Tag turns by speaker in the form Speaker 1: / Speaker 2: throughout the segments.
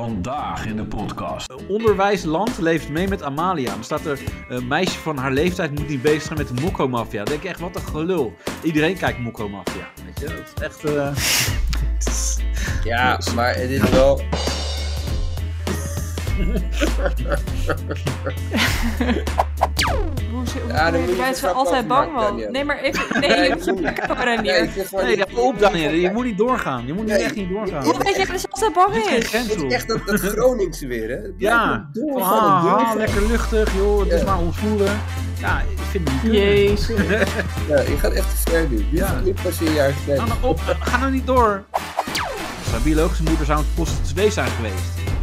Speaker 1: Vandaag in de podcast.
Speaker 2: Onderwijsland leeft mee met Amalia. Dan staat er een meisje van haar leeftijd moet niet bezig zijn met de Mokko Mafia. Dan denk ik echt, wat een gelul. Iedereen kijkt Mokko Mafia. Weet je, dat is echt... eh,
Speaker 3: Ja, maar het is wel.
Speaker 4: Hoe ze, hoe
Speaker 3: Ja, dan
Speaker 4: kunnen
Speaker 3: moet je
Speaker 4: mensen
Speaker 3: de grap
Speaker 4: altijd
Speaker 3: overmaken,
Speaker 4: bang wel.
Speaker 3: Daniel.
Speaker 4: Nee, maar even. Nee, je moet
Speaker 3: Nee,
Speaker 4: lekker maar
Speaker 3: Nee,
Speaker 4: neer.
Speaker 3: ik vind gewoon
Speaker 2: Nee,
Speaker 3: niet-
Speaker 2: ja, op Daniel. Je moet niet doorgaan. Je moet nu
Speaker 3: Nee,
Speaker 2: echt niet doorgaan.
Speaker 3: ik-
Speaker 4: Hoe weet je dat ze altijd bang
Speaker 2: Geen
Speaker 4: is?
Speaker 2: grens,
Speaker 3: Het
Speaker 2: joh.
Speaker 3: is echt dat, dat Groningse weer, hè? Het blijft
Speaker 2: Ja,
Speaker 3: maar
Speaker 2: van,
Speaker 3: doorgaan en
Speaker 2: ha, ha,
Speaker 3: doorgaan.
Speaker 2: lekker luchtig, joh. Het is
Speaker 3: Ja.
Speaker 2: maar ontvoelen. Ja, ik vind het niet kunnen.
Speaker 4: Jezus.
Speaker 3: Ja, je gaat echt te ver nu. Dit
Speaker 2: Ja.
Speaker 3: ja. niet pas in je huis
Speaker 2: Ga nou op, ga nou niet door. Zijn biologische moeder zou een kosten 2 zijn geweest.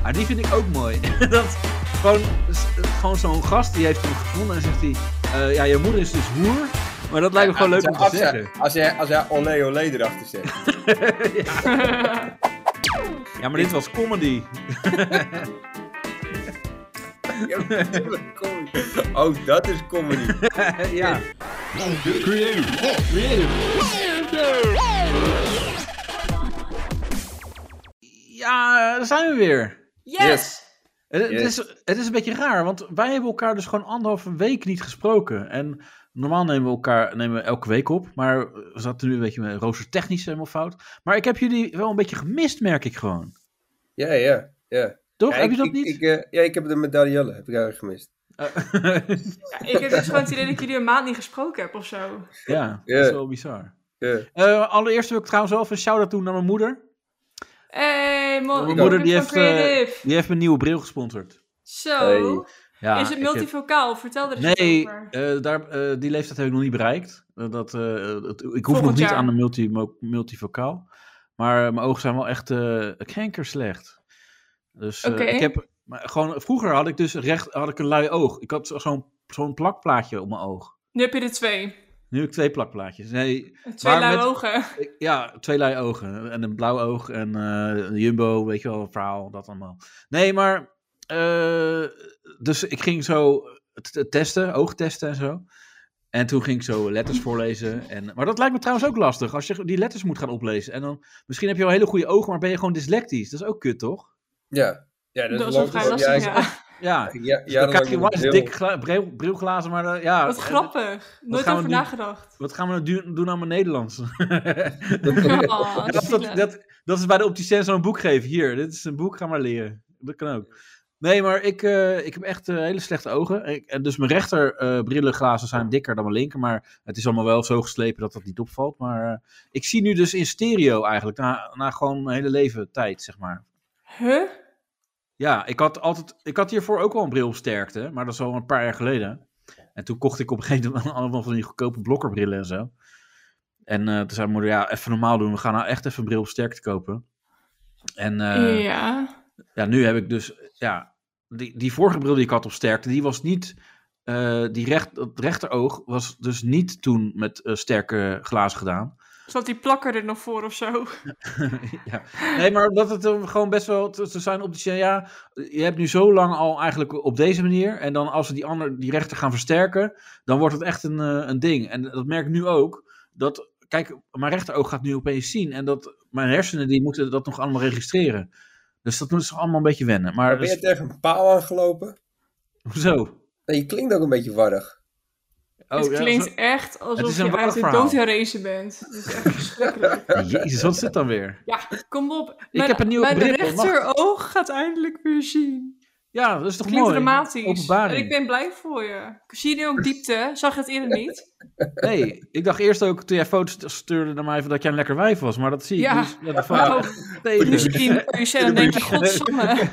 Speaker 2: Maar die vind ik ook mooi. Dat gewoon, s- eh, gewoon zo'n gast die heeft hem gevonden en zegt hij: eh, Ja, je moeder is dus hoer. Maar dat lijkt me gewoon leuk om te
Speaker 3: als hij-
Speaker 2: zeggen.
Speaker 3: Als hij, als hij olé olé erachter zet.
Speaker 2: Ja, maar dit was comedy.
Speaker 3: Ja, wat comedy. oh, dat is comedy.
Speaker 2: ja.
Speaker 1: Creative.
Speaker 2: ja, daar zijn we weer.
Speaker 4: Yes!
Speaker 2: Het, het
Speaker 3: Yes.
Speaker 2: is, het is een beetje raar, want wij hebben elkaar dus gewoon anderhalve week niet gesproken. En normaal nemen we elkaar nemen we elke week op, maar we zaten nu een beetje met roostertechnisch helemaal fout. Maar ik heb jullie wel een beetje gemist, merk ik gewoon.
Speaker 3: Ja, ja. ja.
Speaker 2: Toch?
Speaker 3: Ja,
Speaker 2: heb je
Speaker 3: ik-
Speaker 2: dat
Speaker 3: ik-
Speaker 2: niet?
Speaker 3: Ik, eh, ja, ik heb de medaille heb ik eigenlijk gemist.
Speaker 2: Eh,
Speaker 4: Ja, ik heb dus gewoon het idee dat ik jullie een maand niet gesproken heb of zo.
Speaker 2: ja,
Speaker 3: Ja.
Speaker 2: dat is wel bizar.
Speaker 3: Ja.
Speaker 2: Eh, allereerst wil ik trouwens wel even een shout-out doen naar mijn moeder.
Speaker 4: Hey, man.
Speaker 2: Mijn moeder die
Speaker 4: van
Speaker 2: heeft, eh,
Speaker 4: Creative.
Speaker 2: die heeft mijn nieuwe bril gesponsord.
Speaker 4: Zo.
Speaker 3: Hey.
Speaker 2: Ja,
Speaker 4: is het
Speaker 2: ik heb-
Speaker 4: multivocaal? Vertel er eens
Speaker 2: Nee,
Speaker 4: iets over.
Speaker 2: eh, daar, eh, die leeftijd heb ik nog niet bereikt. Eh, dat, eh, dat- ik hoef
Speaker 4: Volgend
Speaker 2: nog niet
Speaker 4: jaar.
Speaker 2: aan een multi, mo- multivocaal. Maar eh, mijn ogen zijn wel echt eh kankerslecht. Dus eh,
Speaker 4: Oké.
Speaker 2: ik heb maar gewoon, vroeger had ik dus recht, had ik een lui oog. Ik had zo- zo'n zo'n plakplaatje op mijn oog.
Speaker 4: Nu heb je er twee.
Speaker 2: Nu heb ik twee plakplaatjes. Nee,
Speaker 4: Twee
Speaker 2: Maar
Speaker 4: lauwe
Speaker 2: met-
Speaker 4: ogen.
Speaker 2: ik- ja, twee lui ogen. En een blauw oog en eh, een jumbo, weet je wel, een verhaal, dat allemaal. Nee, maar... eh, dus ik ging zo t- t- testen, oogtesten en zo. En toen ging ik zo letters voorlezen. En, maar dat lijkt me trouwens ook lastig, als je die letters moet gaan oplezen. En dan, misschien heb je wel hele goede ogen, maar ben je gewoon dyslectisch. Dat is ook kut, toch?
Speaker 3: Ja. ja,
Speaker 4: Dat is
Speaker 3: lang-
Speaker 4: wel vrij
Speaker 3: ja,
Speaker 4: lastig,
Speaker 3: ik-
Speaker 4: ja.
Speaker 2: Ja, Dus
Speaker 3: Ja, ja,
Speaker 2: dan
Speaker 3: dan
Speaker 2: krijg je
Speaker 3: lang-
Speaker 2: wel eens dik gla- bril- brilglazen, maar eh, ja...
Speaker 4: Wat
Speaker 2: eh,
Speaker 4: grappig. Nooit
Speaker 2: gaan we doen?
Speaker 4: over nagedacht.
Speaker 2: Wat gaan we nou du- doen aan mijn Nederlands?
Speaker 4: Oh,
Speaker 2: Dat, dat,
Speaker 4: zielig.
Speaker 2: dat, dat is bij de opticien zo'n boek geven. Hier, dit is een boek, ga maar leren. Dat kan ook. Nee, maar ik, eh, ik heb echt eh, hele slechte ogen. Ik, en dus mijn rechter eh, brillenglazen zijn dikker dan mijn linker. Maar het is allemaal wel zo geslepen dat dat niet opvalt. Maar eh, ik zie nu dus in stereo eigenlijk. Na, na gewoon mijn hele leven tijd, zeg maar.
Speaker 4: Huh?
Speaker 2: Ja, ik had, altijd, ik had hiervoor ook wel een bril op sterkte. Maar dat is al een paar jaar geleden. En toen kocht ik op een gegeven moment allemaal van die goedkope blokkerbrillen en zo. En eh, toen zei mijn moeder, ja, even normaal doen. We gaan nou echt even een bril op sterkte kopen. En eh,
Speaker 4: ja.
Speaker 2: ja, nu heb ik dus, ja, die, die vorige bril die ik had op sterkte, die was niet, eh, die recht, dat rechteroog was dus niet toen met eh, sterke glazen gedaan.
Speaker 4: Zat die plakker er nog voor of zo?
Speaker 2: ja. Nee, maar omdat het eh, gewoon best wel, te te zijn op de ja, je hebt nu zo lang al eigenlijk op deze manier, en dan als we die, ander, die rechter gaan versterken, dan wordt het echt een, eh, een ding. En dat merk ik nu ook, dat, kijk, mijn rechteroog gaat nu opeens zien, en dat mijn hersenen, die moeten dat nog allemaal registreren. Dus dat moeten ze allemaal een beetje wennen. Maar, dus,
Speaker 3: Maar ben je tegen een paal aangelopen?
Speaker 2: hoezo? Oh,
Speaker 3: Nee, Nou, je klinkt ook een beetje warrig.
Speaker 4: het
Speaker 2: ja,
Speaker 4: klinkt
Speaker 2: zo-
Speaker 4: echt
Speaker 2: Het
Speaker 4: alsof
Speaker 2: is een
Speaker 4: je uit
Speaker 2: warrig
Speaker 4: de
Speaker 2: verhaal.
Speaker 4: dood herrezen bent. Het is echt verschrikkelijk.
Speaker 2: Jezus, wat is dit dan weer?
Speaker 4: Ja, kom op.
Speaker 2: heb een nieuwe
Speaker 4: mijn
Speaker 2: bril,
Speaker 4: rechteroog gaat eindelijk weer zien.
Speaker 2: Ja, dat is toch
Speaker 4: Klinkt
Speaker 2: mooi?
Speaker 4: dramatisch.
Speaker 2: Openbaring.
Speaker 4: En ik ben blij voor je. Zie je nu ook diepte? Zag je het eerder niet?
Speaker 2: Nee, ik dacht eerst ook toen jij foto's stuurde naar mij van dat jij een lekker wijf was, maar dat zie ik
Speaker 4: Ja.
Speaker 2: dus. Ja, de
Speaker 4: Nou,
Speaker 2: foto- tegen.
Speaker 4: nu zie je hem voor jezelf en denk je, godsamme.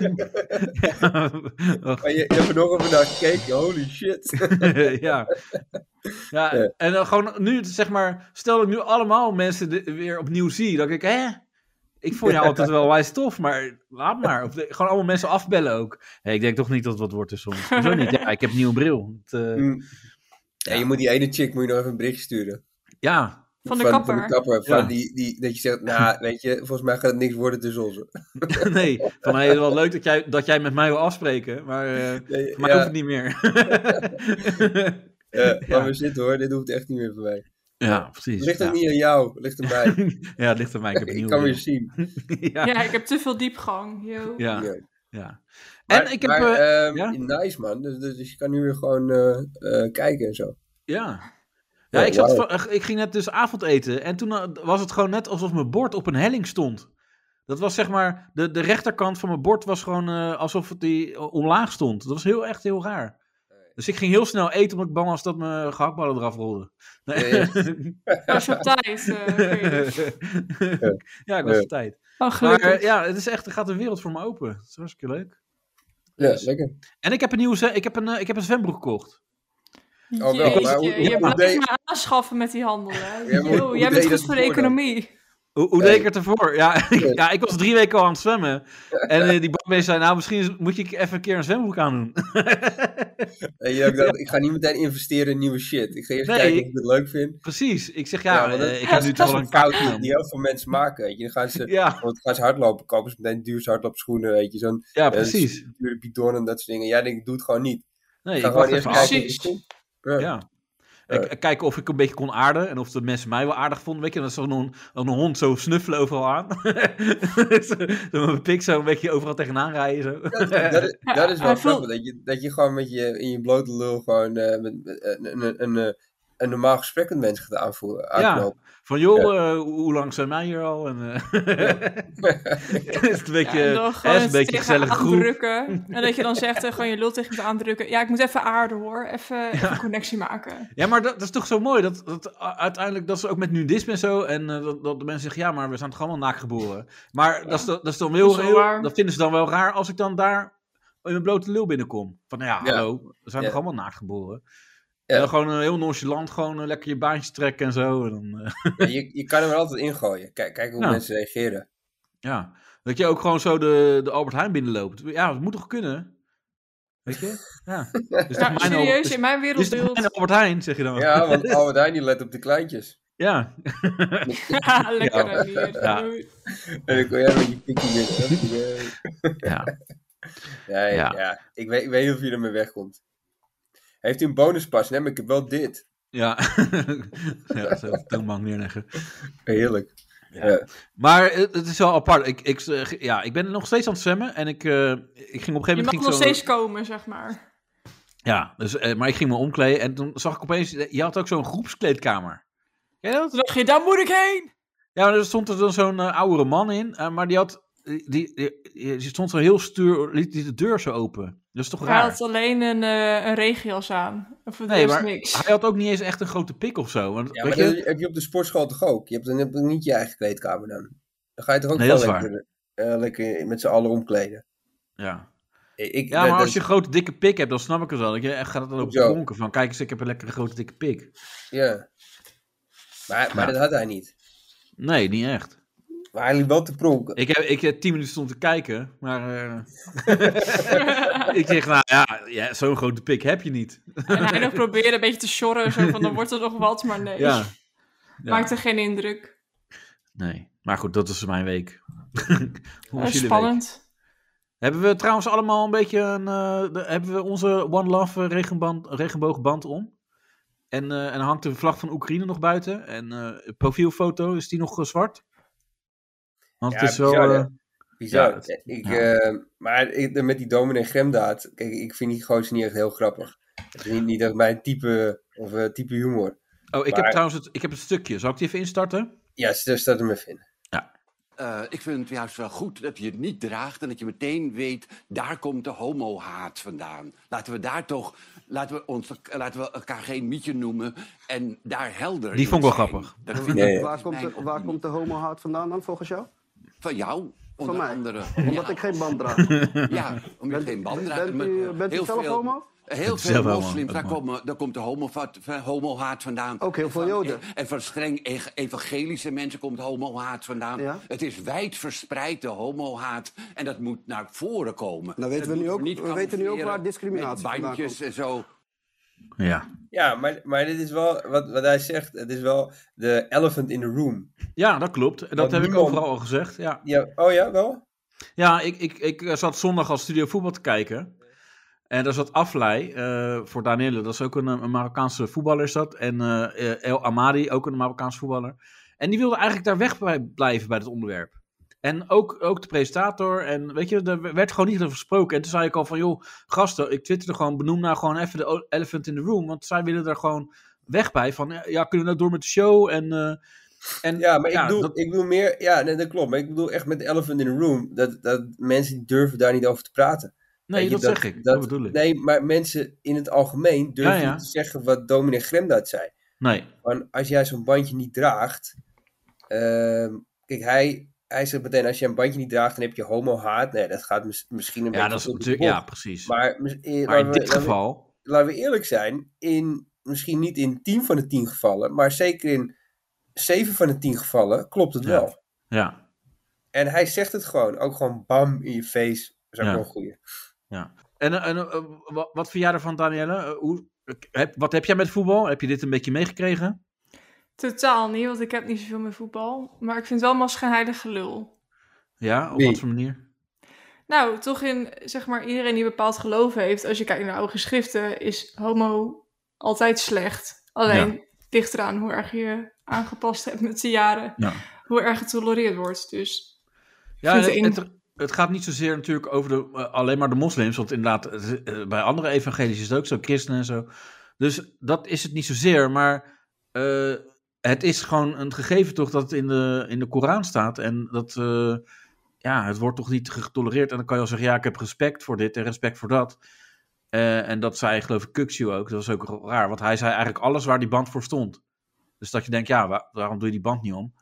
Speaker 3: Maar je, je hebt er nog even naar gekeken, holy shit.
Speaker 2: ja. ja.
Speaker 3: Ja.
Speaker 2: En dan gewoon nu, zeg maar, stel dat ik nu allemaal mensen de- weer opnieuw zie, dan denk ik, hè? Ik vond jou altijd wel wijs tof, maar laat maar. Of de- gewoon allemaal mensen afbellen ook. Hé, ik denk toch niet dat het wat wordt er soms. Zo niet. Ja, ik heb een nieuwe bril. Het, eh,
Speaker 3: Mm. Ja, je moet die ene chick moet je nog even een berichtje sturen.
Speaker 2: ja,
Speaker 4: Van de kapper.
Speaker 3: Van de kapper. Van
Speaker 2: Ja.
Speaker 3: die, die, dat je zegt, nou weet je, volgens mij gaat het niks worden tussen ons.
Speaker 2: Nee, van hey, wel leuk dat jij, dat jij met mij wil afspreken, maar eh
Speaker 3: Nee,
Speaker 2: voor mij
Speaker 3: ja,
Speaker 2: hoeft het niet meer.
Speaker 3: eh,
Speaker 2: ja.
Speaker 3: Laat maar zitten hoor, dit hoeft echt niet meer voor mij.
Speaker 2: Ja, precies.
Speaker 3: Ligt
Speaker 2: ja.
Speaker 3: het niet aan jou, ligt aan mij.
Speaker 2: ja, het ligt aan mij. Ik heb een
Speaker 3: ik
Speaker 2: nieuwe
Speaker 3: kan weer
Speaker 2: bril.
Speaker 3: zien.
Speaker 2: ja, ja.
Speaker 4: Ja, ik heb te veel diepgang. Yo.
Speaker 2: ja.
Speaker 3: Ja.
Speaker 2: En ik heb...
Speaker 3: maar,
Speaker 2: eh,
Speaker 3: ehm,
Speaker 2: ja.
Speaker 3: Nice man, dus, dus, dus je kan nu weer gewoon eh, eh, kijken en zo.
Speaker 2: ja. Ja,
Speaker 3: Ja,
Speaker 2: ik, zat,
Speaker 3: wauw.
Speaker 2: van- ik ging net dus avondeten en toen eh, was het gewoon net alsof mijn bord op een helling stond. Dat was zeg maar, de, de rechterkant van mijn bord was gewoon eh, alsof het die eh, omlaag stond. Dat was heel, echt heel raar. Dus ik ging heel snel eten omdat ik bang was dat mijn gehaktballen eraf rolden.
Speaker 4: Als je op tijd. eh, Felix.
Speaker 2: ja, ik was
Speaker 3: Ja.
Speaker 2: op tijd.
Speaker 4: oh,
Speaker 2: Maar
Speaker 4: gelukkig.
Speaker 2: eh, ja, het is echt, er gaat een wereld voor me open. Het is hartstikke leuk.
Speaker 3: Ja, lekker.
Speaker 2: En ik heb een nieuwe, ze- ik heb een, eh, ik heb een zwembroek gekocht.
Speaker 3: Oh, wel, maar hoe-
Speaker 4: Jeetje, je
Speaker 3: hoe
Speaker 4: blijft
Speaker 3: deed-
Speaker 4: maar aanschaffen met die handel, hè.
Speaker 3: Ja, maar
Speaker 4: Yo,
Speaker 3: hoe deed
Speaker 4: jij bent
Speaker 3: je
Speaker 4: goed
Speaker 3: dat
Speaker 4: voor de
Speaker 3: voor dan?
Speaker 4: economie.
Speaker 2: Hoe, hoe
Speaker 3: Nee.
Speaker 2: deed ik het ervoor? Ja, ik- ja, ik was drie weken al aan het zwemmen. En eh, die badmeester zei, nou, misschien moet je even een keer een zwembroek aandoen.
Speaker 3: En je ook dat, Ik ga niet meteen investeren in nieuwe shit. Ik ga eerst
Speaker 2: Nee.
Speaker 3: kijken of ik het leuk vind.
Speaker 2: Precies. Ik zeg,
Speaker 3: Ja,
Speaker 2: ja,
Speaker 3: maar dat-
Speaker 2: eh, ik heb nu toch al een koud
Speaker 3: fout die, die heel veel mensen maken. Weet je. Dan gaan ze,
Speaker 2: Ja,
Speaker 3: want dan gaan ze hardlopen, kopen ze meteen de duurste hardloopschoenen, weet je. Zo'n
Speaker 2: ja, dus
Speaker 3: eh,
Speaker 2: precies.
Speaker 3: dure bidon en dat soort dingen. Jij denkt, doe het gewoon niet.
Speaker 2: Nee,
Speaker 3: Ik
Speaker 2: ik
Speaker 3: ga gewoon
Speaker 2: wacht
Speaker 3: eerst
Speaker 2: even
Speaker 4: kijken.
Speaker 2: af.
Speaker 3: kijken of het
Speaker 4: Precies.
Speaker 3: komt. Ja.
Speaker 2: Ja. Ik, ik kijk of ik een beetje kon aarden en of de mensen mij wel aardig vonden. Weet je, dat is zo'n een, een hond zo snuffelen overal aan. Dus, zo, zo mijn pik zo een beetje overal tegenaan rijden. Zo.
Speaker 3: Dat, dat is,
Speaker 4: Ja,
Speaker 3: dat is wel
Speaker 4: hij voelt-
Speaker 3: grappig. Dat je, dat je gewoon met je, in je blote lul gewoon eh, met, met- een, een, een, eh, een normaal gesprek met mensen gaat aanvoeren. aanknopen.
Speaker 2: Van joh, eh, hoe- hoe lang zijn wij hier al? En, eh, het is een beetje,
Speaker 4: en dan
Speaker 2: hè,
Speaker 4: gewoon
Speaker 2: het is een
Speaker 4: het
Speaker 2: beetje
Speaker 4: tegen
Speaker 2: gezellige groep.
Speaker 4: aandrukken. En dat je dan zegt, eh, gewoon je lul tegen me aandrukken. Ja, ik moet even aarden hoor. Even, even connectie maken.
Speaker 2: Ja, maar dat, dat is toch zo mooi. Dat, dat a- uiteindelijk, dat is ook met nudisme en zo. En eh, dat, dat de mensen zeggen, ja, maar we zijn toch allemaal naakt geboren. Maar dat, is, dat, dat is dan heel,
Speaker 4: Dat is wel
Speaker 2: heel-
Speaker 4: waar.
Speaker 2: dat vinden ze dan wel raar als ik dan daar in mijn blote lul binnenkom. Van nou ja,
Speaker 3: Ja.
Speaker 2: hallo, we zijn
Speaker 3: Ja.
Speaker 2: toch allemaal naakt geboren.
Speaker 3: Ja.
Speaker 2: En dan gewoon eh, heel nonchalant, gewoon eh, lekker je baantje trekken en zo. En dan, eh,
Speaker 3: Ja, je, je kan hem er altijd ingooien. Kijk, kijk hoe
Speaker 2: Ja.
Speaker 3: mensen reageren.
Speaker 2: Ja, dat je ook gewoon zo de, de Albert Heijn binnenloopt. Ja, dat moet toch kunnen? Weet je? Ja. Dus
Speaker 4: Nou, serieus, in mijn
Speaker 2: Is toch mijn
Speaker 4: wereldbeeld...
Speaker 2: Albert Heijn, zeg je dan?
Speaker 3: Ja, want Albert Heijn die let op de kleintjes.
Speaker 2: Ja.
Speaker 4: Ja, lekker
Speaker 2: Ja.
Speaker 4: dan hier.
Speaker 2: Ja.
Speaker 4: Doei.
Speaker 3: En dan kom jij met je pikkie binnen.
Speaker 2: ja.
Speaker 3: Ja, ja.
Speaker 2: Ja.
Speaker 3: ja. Ik, weet, ik weet niet of je ermee wegkomt. Heeft u een bonuspas? Nee, maar ik heb wel dit.
Speaker 2: Ja, ja zo op de toonbank neerleggen.
Speaker 3: Heerlijk.
Speaker 2: Ja.
Speaker 3: Ja.
Speaker 2: Maar het, het is wel apart. Ik, ik, eh, ja, ik ben nog steeds aan het zwemmen en ik, eh, ik ging op een gegeven
Speaker 4: Je
Speaker 2: moment...
Speaker 4: mag
Speaker 2: ging
Speaker 4: nog
Speaker 2: zo-
Speaker 4: steeds komen, zeg maar.
Speaker 2: Ja, dus, eh, maar ik ging me omkleden en toen zag ik opeens... eh, Je had ook zo'n groepskleedkamer. Ken je dat?
Speaker 4: Toen dacht je, daar moet ik heen!
Speaker 2: Ja, maar er stond er dan zo'n eh, oudere man in, eh, maar die had... Die, die, die- die stond zo heel stuur, liet die de deur zo open. Dat is toch
Speaker 4: Hij
Speaker 2: raar?
Speaker 4: had alleen een, eh een regenjas aan. Of
Speaker 2: Nee,
Speaker 4: nee,
Speaker 2: maar
Speaker 4: niks.
Speaker 2: hij had ook niet eens echt een grote pik of zo. Want,
Speaker 3: Ja,
Speaker 2: weet
Speaker 3: maar
Speaker 2: je,
Speaker 3: dat heb je op de sportschool toch ook? Je hebt dan heb je niet je eigen kleedkamer dan. Dan ga je toch ook
Speaker 2: Nee,
Speaker 3: wel
Speaker 2: dat is
Speaker 3: lekker, eh, lekker met z'n allen omkleden.
Speaker 2: ja.
Speaker 3: Ik- Ik,
Speaker 2: ja
Speaker 3: dat-
Speaker 2: maar
Speaker 3: dat
Speaker 2: als je een grote dikke pik hebt, dan snap ik het wel. Dat je echt gaat dan ook
Speaker 3: Hoezo?
Speaker 2: dronken van, kijk eens, ik heb een lekkere grote dikke pik.
Speaker 3: is- Ja. Maar, maar
Speaker 2: Ja.
Speaker 3: dat had hij niet.
Speaker 2: Nee, niet echt.
Speaker 3: Maar hij liep wel te pronken.
Speaker 2: Ik heb ik, heb tien minuten stond te kijken, maar eh, ik zeg, nou ja, ja zo'n grote pik heb je niet.
Speaker 4: En hij nog probeerde een beetje te sjorren. Zo van, dan wordt er nog wat, maar nee.
Speaker 2: Ja. Ja,
Speaker 4: Maakte geen indruk.
Speaker 2: Nee, maar goed, dat is mijn week. Hoe
Speaker 4: Eh,
Speaker 2: was jullie week?
Speaker 4: spannend.
Speaker 2: Hebben we trouwens allemaal een beetje een, eh, de- hebben we onze One Love eh, regenband, regenboogband om? En, eh, en hangt de vlag van Oekraïne nog buiten? En eh, de profielfoto, is die nog eh, zwart? Want
Speaker 3: Ja,
Speaker 2: het is wel...
Speaker 3: bizar, hè?
Speaker 2: eh,
Speaker 3: Bizar.
Speaker 2: ja, het-
Speaker 3: ik,
Speaker 2: ja.
Speaker 3: eh, maar ik, met die dominee Gremdaad, kijk, ik vind die gozer niet echt heel grappig. Het is niet, niet echt mijn type, of, eh, type humor.
Speaker 2: Oh, ik heb
Speaker 3: Maar-
Speaker 2: trouwens het, ik heb het stukje. Zal ik die even instarten?
Speaker 3: Ja, daar staat hem even in.
Speaker 5: Eh, ik vind het juist wel goed dat je het niet draagt en dat je meteen weet, daar komt de homohaat vandaan. Laten we daar toch, laten we, ons, eh, laten we elkaar geen mietje noemen en daar helder
Speaker 2: Die
Speaker 5: in
Speaker 2: vond ik wel
Speaker 5: zijn.
Speaker 2: grappig.
Speaker 5: Dat vind
Speaker 3: Nee.
Speaker 5: ik
Speaker 6: Waar komt,
Speaker 5: mijn
Speaker 6: de, waar
Speaker 5: opinie.
Speaker 6: komt de homohaat vandaan dan, volgens jou?
Speaker 5: Van jou, onder
Speaker 6: mij?
Speaker 5: andere.
Speaker 6: Omdat
Speaker 5: ja,
Speaker 6: ik geen band draag.
Speaker 5: ja, om je geen band te raken.
Speaker 6: bent u-
Speaker 5: maar eh,
Speaker 6: bent u
Speaker 5: heel
Speaker 6: zelf
Speaker 5: veel-
Speaker 6: homo?
Speaker 5: Heel
Speaker 2: zelf
Speaker 5: veel
Speaker 2: homo,
Speaker 5: moslims,
Speaker 2: dat
Speaker 5: daar,
Speaker 2: mag.
Speaker 5: komen, daar komt de homohaat homohaat vandaan.
Speaker 6: Ook heel veel
Speaker 5: En van-
Speaker 6: Joden.
Speaker 5: En van streng e- evangelische mensen komt homohaat vandaan.
Speaker 6: Ja.
Speaker 5: Het is wijdverspreid, de homohaat. En dat moet naar voren komen.
Speaker 6: Nou weten we
Speaker 5: Dat
Speaker 6: nu
Speaker 5: moet
Speaker 6: ook- we weten nu ook
Speaker 5: camoufleren
Speaker 6: waar discriminatie
Speaker 5: met
Speaker 6: vandaan
Speaker 5: bandjes
Speaker 6: komt.
Speaker 5: en zo.
Speaker 2: Ja.
Speaker 3: Ja, maar, maar dit is wel, wat, wat hij zegt, het is wel de elephant in the room.
Speaker 2: Ja, dat klopt. En dat
Speaker 3: Want
Speaker 2: heb ik
Speaker 3: niemand-
Speaker 2: overal al gezegd. Ja,
Speaker 3: Ja, oh ja, wel?
Speaker 2: ja ik, ik, ik eh, zat zondag als studio voetbal te kijken. En daar zat Aflei eh, voor Danilo. Dat is ook een, een Marokkaanse voetballer is dat. En eh, eh, El Amadi, ook een Marokkaanse voetballer. En die wilde eigenlijk daar weg bij, blijven bij het onderwerp. En ook, ook de presentator. En weet je, er werd gewoon niet over gesproken. En toen zei ik al van, joh, gasten, ik twitterde gewoon, benoem nou gewoon even de o- elephant in the room. Want zij willen er gewoon weg bij. Van, ja, ja, kunnen we nou door met de show? En, eh, en
Speaker 3: Ja, maar ik, bedoel,
Speaker 2: dat-
Speaker 3: ik bedoel meer... Ja, nee, dat klopt. Maar ik bedoel echt met de elephant in the room. Dat, dat mensen die durven daar niet over te praten.
Speaker 2: nee,
Speaker 3: Weet je,
Speaker 2: dat, zeg ik. Dat, bedoel ik. Nee.
Speaker 3: Nee, maar mensen in het algemeen durven
Speaker 2: Ja, ja.
Speaker 3: niet te zeggen wat Dominic Gremdaat zei. Van als jij zo'n bandje niet draagt. ehm, kijk, hij, hij zegt meteen: als je een bandje niet draagt, dan heb je homo-haat. Nee, dat gaat mis- misschien een
Speaker 2: Ja,
Speaker 3: beetje.
Speaker 2: dat is
Speaker 3: tot de
Speaker 2: natuurlijk,
Speaker 3: bocht.
Speaker 2: ja, precies. Maar,
Speaker 3: Maar, mis- eh,
Speaker 2: in
Speaker 3: laten, we,
Speaker 2: dit
Speaker 3: laten, we,
Speaker 2: geval...
Speaker 3: laten we eerlijk zijn: in, misschien niet in 10 van de 10 gevallen, maar zeker in 7 van de 10 gevallen klopt het
Speaker 2: Ja.
Speaker 3: wel.
Speaker 2: Ja,
Speaker 3: En hij zegt het gewoon, ook gewoon bam in je face. Dat is ook
Speaker 2: Ja.
Speaker 3: wel een goeie.
Speaker 2: ja. En, eh, en eh, wa- wat vind jij ervan, Danielle? Eh, Hoe, heb, wat heb jij met voetbal? Heb je dit een beetje meegekregen?
Speaker 4: Totaal niet, want ik heb niet zoveel met voetbal. Maar ik vind het wel masgenheilig gelul.
Speaker 2: Ja, op
Speaker 3: Nee.
Speaker 2: wat voor manier?
Speaker 4: Nou, toch in, zeg maar, iedereen die bepaald geloof heeft, als je kijkt naar oude geschriften, is homo altijd slecht. Alleen, ligt eraan hoe erg je aangepast hebt met de jaren,
Speaker 2: Ja.
Speaker 4: hoe erg getolereerd wordt. Dus
Speaker 2: Ja,
Speaker 4: Vind
Speaker 2: en
Speaker 4: je
Speaker 2: het, het, het gaat niet zozeer natuurlijk over de, eh, alleen maar de moslims. Want inderdaad, het- eh, bij andere evangelisch is het ook zo, christenen en zo. Dus dat is het niet zozeer. Maar eh, het is gewoon een gegeven toch dat het in de, in de Koran staat. En dat, eh, ja, het wordt toch niet getolereerd. En dan kan je al zeggen, ja, ik heb respect voor dit en respect voor dat. Eh, en dat zei, geloof ik, Kukshu ook. Dat was ook raar, want hij zei eigenlijk alles waar die band voor stond. Dus dat je denkt, ja, wa- waarom doe je die band niet om?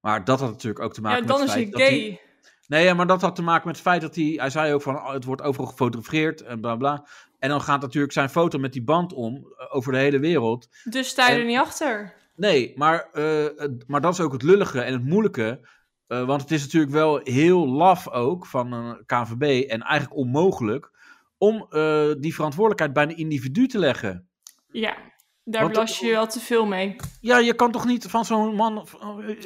Speaker 2: Maar dat had natuurlijk ook te maken
Speaker 4: ja,
Speaker 2: met
Speaker 4: dan
Speaker 2: het
Speaker 4: is hij
Speaker 2: feit dat
Speaker 4: gay.
Speaker 2: hij- Nee, ja, maar dat had te maken met het feit dat hij... Hij zei ook van, oh, het wordt overal gefotografeerd en bla bla. En dan gaat natuurlijk zijn foto met die band om eh, over de hele wereld.
Speaker 4: Dus sta je
Speaker 2: En-
Speaker 4: er niet achter.
Speaker 2: Nee, maar, eh, het- maar dat is ook het lullige en het moeilijke. eh, want het is natuurlijk wel heel laf ook van een KNVB en eigenlijk onmogelijk... om eh, die verantwoordelijkheid bij een individu te leggen.
Speaker 4: Ja, daar
Speaker 2: Want-
Speaker 4: blas je wel te veel mee.
Speaker 2: Ja, je kan toch niet van zo'n man of,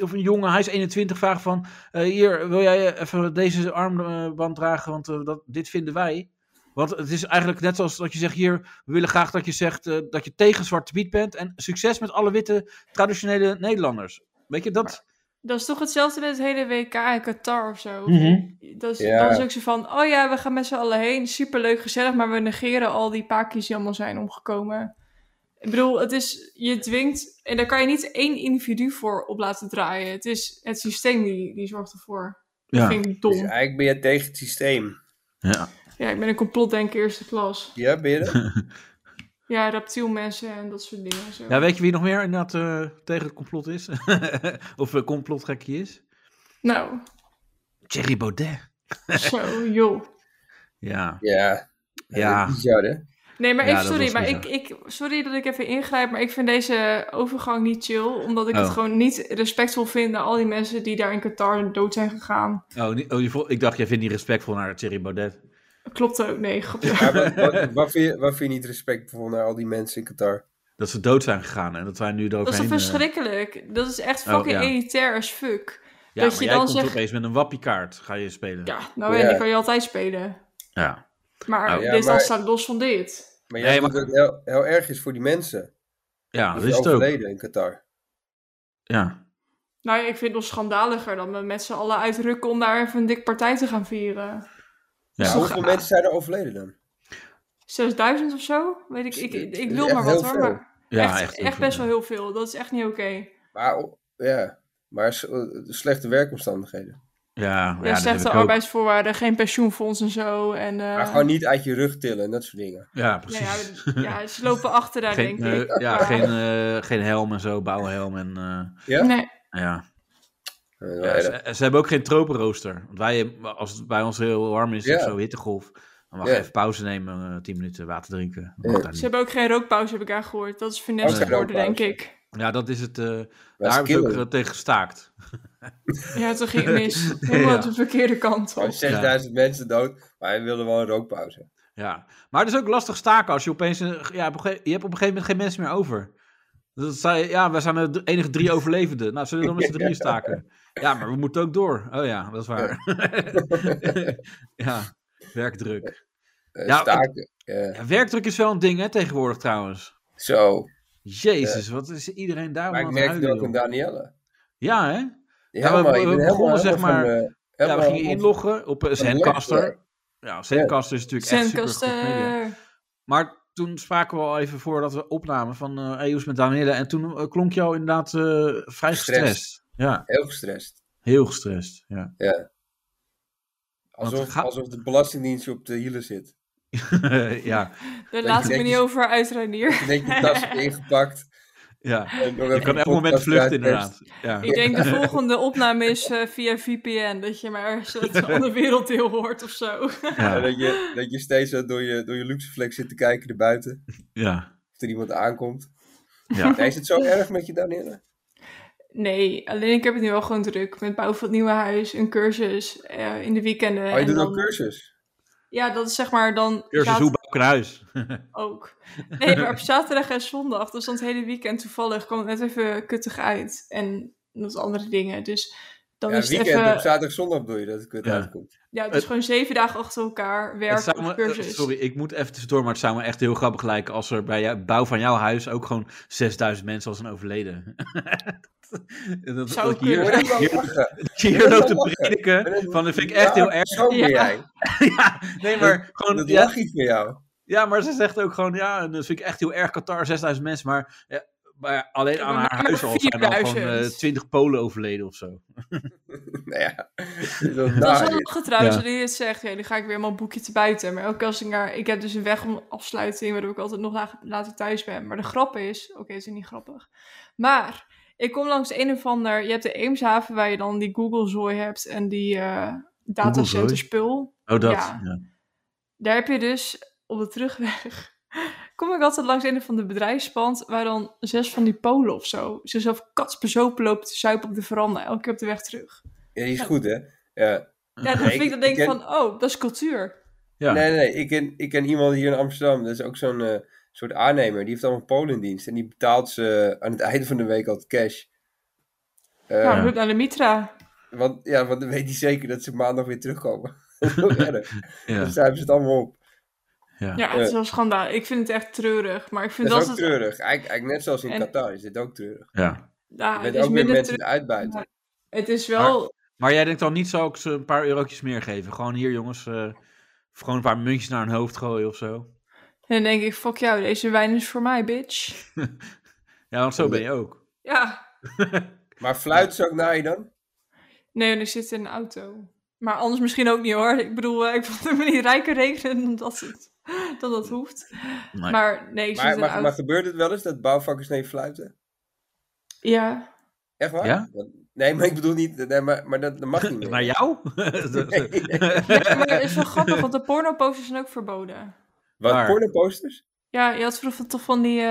Speaker 2: of een jongen, hij is 21, vragen van... eh, hier, wil jij even deze armband dragen, want eh, dat, dit vinden wij. Want het is eigenlijk net zoals dat je zegt hier... We willen graag dat je zegt eh, dat je tegen Zwarte Piet bent... en succes met alle witte traditionele Nederlanders. Weet je, dat...
Speaker 4: Dat is toch hetzelfde met het hele WK in Qatar of zo. Dat is,
Speaker 3: Ja.
Speaker 4: dan is ook zo van, oh ja, we gaan met z'n allen heen. Superleuk, gezellig, maar we negeren al die pakjes die allemaal zijn omgekomen. Ik bedoel, het is, je dwingt, en daar kan je niet één individu voor op laten draaien. Het is het systeem die, die zorgt ervoor. Dat vind ik
Speaker 3: Dus
Speaker 4: dom.
Speaker 3: eigenlijk ben je tegen het systeem.
Speaker 2: ja.
Speaker 4: Ja, ik ben een complotdenker eerste klas.
Speaker 3: Ja, ben je dat?
Speaker 4: Ja, reptielmensen en dat soort dingen. en Zo.
Speaker 2: ja, weet je wie nog meer inderdaad eh, tegen het complot is? of een complotgekkie is?
Speaker 4: Nou,
Speaker 2: Thierry Baudet.
Speaker 4: zo, joh.
Speaker 2: Ja,
Speaker 3: Ja.
Speaker 2: ja.
Speaker 3: Bizar, hè?
Speaker 4: Nee, maar
Speaker 2: Ja,
Speaker 4: ik,
Speaker 2: dat
Speaker 4: sorry,
Speaker 2: was
Speaker 4: maar ik,
Speaker 2: bizar.
Speaker 4: ik, sorry dat ik even ingrijp, maar ik vind deze overgang niet chill, omdat ik het
Speaker 2: Oh.
Speaker 4: gewoon niet respectvol vind naar al die mensen die daar in Qatar dood zijn gegaan.
Speaker 2: Oh, niet- oh, je vo- ik dacht, jij vindt niet respectvol naar Thierry Baudet.
Speaker 4: Klopt ook, nee, grapje.
Speaker 3: Maar wat, wat, wat, vind je, wat vind je niet respectvol naar al die mensen in Qatar?
Speaker 2: Dat ze dood zijn gegaan en dat wij nu
Speaker 4: Dat is
Speaker 2: eroverheen...
Speaker 4: toch
Speaker 2: eh,
Speaker 4: verschrikkelijk? Dat is echt
Speaker 2: Oh,
Speaker 4: fucking
Speaker 2: ja.
Speaker 4: elitair as fuck.
Speaker 2: Ja,
Speaker 4: dat
Speaker 2: maar
Speaker 4: je
Speaker 2: jij
Speaker 4: dan
Speaker 2: komt
Speaker 4: zegt-
Speaker 2: opeens met een wappiekaart ga je spelen.
Speaker 4: Ja, nou ja,
Speaker 3: Ja.
Speaker 4: die kan je altijd spelen.
Speaker 2: Ja.
Speaker 4: Maar
Speaker 2: Oh.
Speaker 3: Ja,
Speaker 4: dit dan
Speaker 3: maar-
Speaker 4: staat los van dit.
Speaker 3: Maar
Speaker 2: Nee,
Speaker 3: jij
Speaker 2: maar-
Speaker 3: denkt dat het heel, heel erg is voor die mensen.
Speaker 2: Ja,
Speaker 3: die
Speaker 2: dat is het ook.
Speaker 3: overleden in Qatar.
Speaker 2: Ja.
Speaker 4: Nou ja, ik vind het nog schandaliger dan we met z'n allen uitrukken om daar even een dik partij te gaan vieren.
Speaker 2: Ja.
Speaker 4: Zo-
Speaker 3: Hoeveel mensen zijn er overleden dan?
Speaker 4: 6000 of zo? Weet ik, ik, ik, wil
Speaker 3: Echt
Speaker 4: maar
Speaker 3: heel
Speaker 4: wat hoor,
Speaker 3: veel.
Speaker 4: maar
Speaker 2: Ja,
Speaker 4: echt, echt,
Speaker 2: heel veel, ja.
Speaker 4: best wel heel veel. Dat is echt niet oké.
Speaker 3: Maar, oh, ja, maar s- eh, slechte werkomstandigheden.
Speaker 2: Ja, ja,
Speaker 4: Ja,
Speaker 2: dat heb ik
Speaker 4: slechte
Speaker 2: ook.
Speaker 4: arbeidsvoorwaarden, geen pensioenfonds en zo. En, eh,
Speaker 3: Maar gewoon niet uit je rug tillen en dat soort dingen.
Speaker 2: Ja,
Speaker 4: ja,
Speaker 2: precies.
Speaker 4: ja, ja, ze lopen achter daar,
Speaker 2: geen,
Speaker 4: denk ik.
Speaker 2: eh, ja,
Speaker 4: Maar-
Speaker 2: geen, eh, geen helm en zo, bouwhelm en... eh,
Speaker 3: Ja?
Speaker 4: Nee,
Speaker 2: ja.
Speaker 3: Eh,
Speaker 2: Ja,
Speaker 3: wel erg.
Speaker 2: ze, ze hebben ook geen tropenrooster. Want wij, als het bij ons heel warm is,
Speaker 3: Ja.
Speaker 2: of zo hittegolf, dan mag
Speaker 3: Ja.
Speaker 2: je even pauze nemen, eh 10 minuten water drinken. Dat mag
Speaker 3: Ja.
Speaker 2: daar
Speaker 4: ze
Speaker 2: niet.
Speaker 4: hebben ook geen rookpauze, heb ik daar gehoord. Dat is finesse
Speaker 3: Ook geen
Speaker 4: geworden, denk
Speaker 3: rookpauze.
Speaker 4: ik.
Speaker 2: Ja, dat is het. eh,
Speaker 3: Dat is
Speaker 2: daar hebben ze ook
Speaker 3: killing.
Speaker 2: eh, tegen gestaakt.
Speaker 4: Ja, toen ging het mis. Helemaal
Speaker 2: Ja.
Speaker 4: de verkeerde kant op.
Speaker 3: Gewoon 6000 mensen dood, maar we willen wel een rookpauze.
Speaker 2: Ja, maar het is ook lastig staken als je opeens... een- Ja, op een gege- je hebt op een gegeven moment geen mensen meer over. Dus dat zei, ja, we zijn de d- enige drie overlevenden. Nou, zullen we dan met z'n drieën staken? Ja, maar we moeten ook door. Oh ja, dat is waar. ja, werkdruk.
Speaker 3: eh,
Speaker 2: Ja,
Speaker 3: staken. eh,
Speaker 2: Ja, werkdruk is wel een ding, hè, tegenwoordig trouwens.
Speaker 3: zo.
Speaker 2: Jezus, wat is iedereen daar
Speaker 3: Maar
Speaker 2: om
Speaker 3: ik
Speaker 2: aan het
Speaker 3: merk het
Speaker 2: huilen,
Speaker 3: ook in
Speaker 2: joh.
Speaker 3: Danielle.
Speaker 2: Ja, hè?
Speaker 3: Die
Speaker 2: Ja, we-
Speaker 3: helemaal-
Speaker 2: we
Speaker 3: ik ben helemaal-
Speaker 2: begonnen, zeg
Speaker 3: helemaal van,
Speaker 2: maar-
Speaker 3: eh,
Speaker 2: Ja, we
Speaker 3: helemaal
Speaker 2: gingen
Speaker 3: van-
Speaker 2: inloggen op eh, Zencaster. Ja, Zencaster is natuurlijk echt super
Speaker 4: Zencaster.
Speaker 2: Maar toen spraken we al even voordat we opnamen van eh Eus met Danielle. En toen eh, klonk jou inderdaad eh, vrij
Speaker 3: Gestrest.
Speaker 2: gestrest. Ja,
Speaker 3: Heel gestrest.
Speaker 2: heel gestrest. Ja. Want
Speaker 3: Alsof,
Speaker 2: ga-
Speaker 3: alsof de Belastingdienst je op de hielen zit.
Speaker 2: ja,
Speaker 4: Daar laat ik me
Speaker 3: netjes.
Speaker 4: niet over uit, Reinier.
Speaker 3: Je denkt je tas hebt ingepakt.
Speaker 2: ja.
Speaker 3: En nog
Speaker 2: Je
Speaker 3: even
Speaker 2: kan
Speaker 3: een
Speaker 2: elk moment
Speaker 3: podcast
Speaker 2: vluchten
Speaker 3: uitperst.
Speaker 2: inderdaad. Ja.
Speaker 4: Ik denk de volgende opname is eh, via VPN. Dat je maar ergens uit een ander werelddeel hoort of zo.
Speaker 3: En
Speaker 2: Ja.
Speaker 3: dat je, dat je steeds zo door je, door je luxeflex zit te kijken naar buiten.
Speaker 2: Ja.
Speaker 3: Of er iemand aankomt.
Speaker 2: Ja.
Speaker 3: Nee, is het zo erg met je, Danielle?
Speaker 4: Nee, alleen ik heb het nu wel gewoon druk. Met bouw van het nieuwe huis, een cursus eh, in de weekenden.
Speaker 3: Oh, je
Speaker 4: en
Speaker 3: doet
Speaker 4: dan-
Speaker 3: ook cursus.
Speaker 4: Ja, dat is zeg maar dan...
Speaker 2: Cursus
Speaker 4: zater-
Speaker 2: hoe bouw ik een huis.
Speaker 4: ook. Nee, maar op zaterdag en zondag, dus dan het hele weekend toevallig, kwam het net even kuttig uit. En dat andere dingen. Dus dan
Speaker 3: Ja,
Speaker 4: is het
Speaker 3: weekend
Speaker 4: even.
Speaker 3: op zaterdag, zondag bedoel je dat het kut
Speaker 2: Ja.
Speaker 3: uitkomt.
Speaker 4: Ja, dus
Speaker 2: Het-
Speaker 4: gewoon zeven dagen achter elkaar
Speaker 2: Het
Speaker 4: werken
Speaker 2: zou
Speaker 4: of
Speaker 2: me- eh,
Speaker 4: cursus.
Speaker 2: sorry, ik moet even tussendoor, maar het zou me echt heel grappig lijken als er bij jou, bouw van jouw huis ook gewoon 6000 mensen als een overleden. dat, dat
Speaker 4: Zou
Speaker 2: ik hier,
Speaker 3: Je
Speaker 4: kunnen.
Speaker 3: wordt helemaal
Speaker 2: hier,
Speaker 3: lachen.
Speaker 2: hier loopt te
Speaker 3: wel lachen.
Speaker 2: prediken, van dat vind ik echt
Speaker 3: Ja,
Speaker 2: heel erg.
Speaker 3: Zo ben
Speaker 4: Ja.
Speaker 3: jij.
Speaker 2: ja, nee, maar gewoon,
Speaker 3: Dat
Speaker 2: ja,
Speaker 3: lach iets van jou.
Speaker 2: Ja, maar ze zegt ook gewoon, ja, en dat vind ik echt heel erg Qatar, 6000 mensen, maar, ja, maar alleen aan
Speaker 4: maar
Speaker 2: haar huis al zijn al
Speaker 4: 4000.
Speaker 2: gewoon eh, 20 Polen overleden of zo.
Speaker 3: Nou ja.
Speaker 4: Dat is
Speaker 3: Nou,
Speaker 4: wel lachen trouwens,
Speaker 2: Ja.
Speaker 4: dat je dit zegt. Ja, nu ga ik weer mijn boekje te buiten. Maar elke keer als ik naar... Ik heb dus een weg om afsluiting, waardoor ik altijd nog la- later thuis ben. Maar de grap is... Oké, het is niet grappig. Maar ik kom langs een of ander... Je hebt de Eemshaven, waar je dan die Google-zooi hebt. En die eh datacenter-spul.
Speaker 2: Oh, dat.
Speaker 4: Ja.
Speaker 2: Ja.
Speaker 4: daar heb je dus op de terugweg. Kom ik altijd langs een van de bedrijfspand waar dan zes van die Polen of zo zichzelf katsbezopen lopen te zuipen op de veranda, elke keer op de weg terug.
Speaker 3: ja, die is goed, hè? Ja.
Speaker 4: Ja, dan
Speaker 3: Nee,
Speaker 4: vind ik
Speaker 3: ik-
Speaker 4: dan denk
Speaker 3: ik
Speaker 4: ik van, oh, dat is cultuur.
Speaker 2: Ja.
Speaker 3: Nee, nee, nee. Ik ken, ik ken iemand hier in Amsterdam. Dat is ook zo'n eh, soort aannemer. Die heeft allemaal Polen in dienst. En die betaalt ze aan het einde van de week altijd cash. Eh,
Speaker 4: nou, hup naar de Mitra.
Speaker 3: want, ja, want dan weet hij zeker dat ze maandag weer terugkomen. Heel erg.
Speaker 2: Ja.
Speaker 3: Dan zuipen ze het allemaal op.
Speaker 2: Ja.
Speaker 4: Ja, het is wel schandaal. Ik vind het echt treurig, maar ik vind
Speaker 3: Dat
Speaker 4: dat,
Speaker 3: is ook
Speaker 4: Dus het...
Speaker 3: treurig. Eigenlijk, eigenlijk net zoals in
Speaker 4: En-
Speaker 3: Qatar is dit ook treurig.
Speaker 2: Ja.
Speaker 4: Ja,
Speaker 3: Je
Speaker 4: het
Speaker 3: bent
Speaker 4: is
Speaker 3: ook weer
Speaker 4: minder
Speaker 3: mensen
Speaker 4: treurig.
Speaker 3: te uitbuiten.
Speaker 4: Het is wel...
Speaker 2: Maar jij denkt dan niet, zou ik ze een paar eurotjes meer geven? Gewoon hier, jongens, eh, of gewoon een paar muntjes naar hun hoofd gooien of zo.
Speaker 4: En dan denk ik, fuck jou, deze wijn is voor mij, bitch.
Speaker 2: Ja, want zo ben je ook.
Speaker 4: Ja.
Speaker 3: Maar fluit ze ook naar je dan?
Speaker 4: Nee, en ik zit in een auto. Maar anders misschien ook niet hoor. Ik bedoel, eh, ik vond me niet rijker rekenen dan dat, het, dan dat hoeft.
Speaker 2: Nee.
Speaker 4: Maar nee, ik zit
Speaker 3: Maar,
Speaker 4: in een
Speaker 3: maar,
Speaker 4: auto.
Speaker 3: maar gebeurt het wel eens dat bouwvakkers naar je fluiten?
Speaker 4: Ja.
Speaker 3: Echt waar?
Speaker 2: Ja?
Speaker 3: Want- Nee, maar ik bedoel niet... Nee, maar, maar dat, dat mag niet meer.
Speaker 2: Naar jou? Dat-
Speaker 4: ja, maar het is wel grappig, want de pornoposters zijn ook verboden.
Speaker 3: Wat,
Speaker 2: Waar?
Speaker 3: pornoposters?
Speaker 4: Ja, je had vroeger toch van die... eh,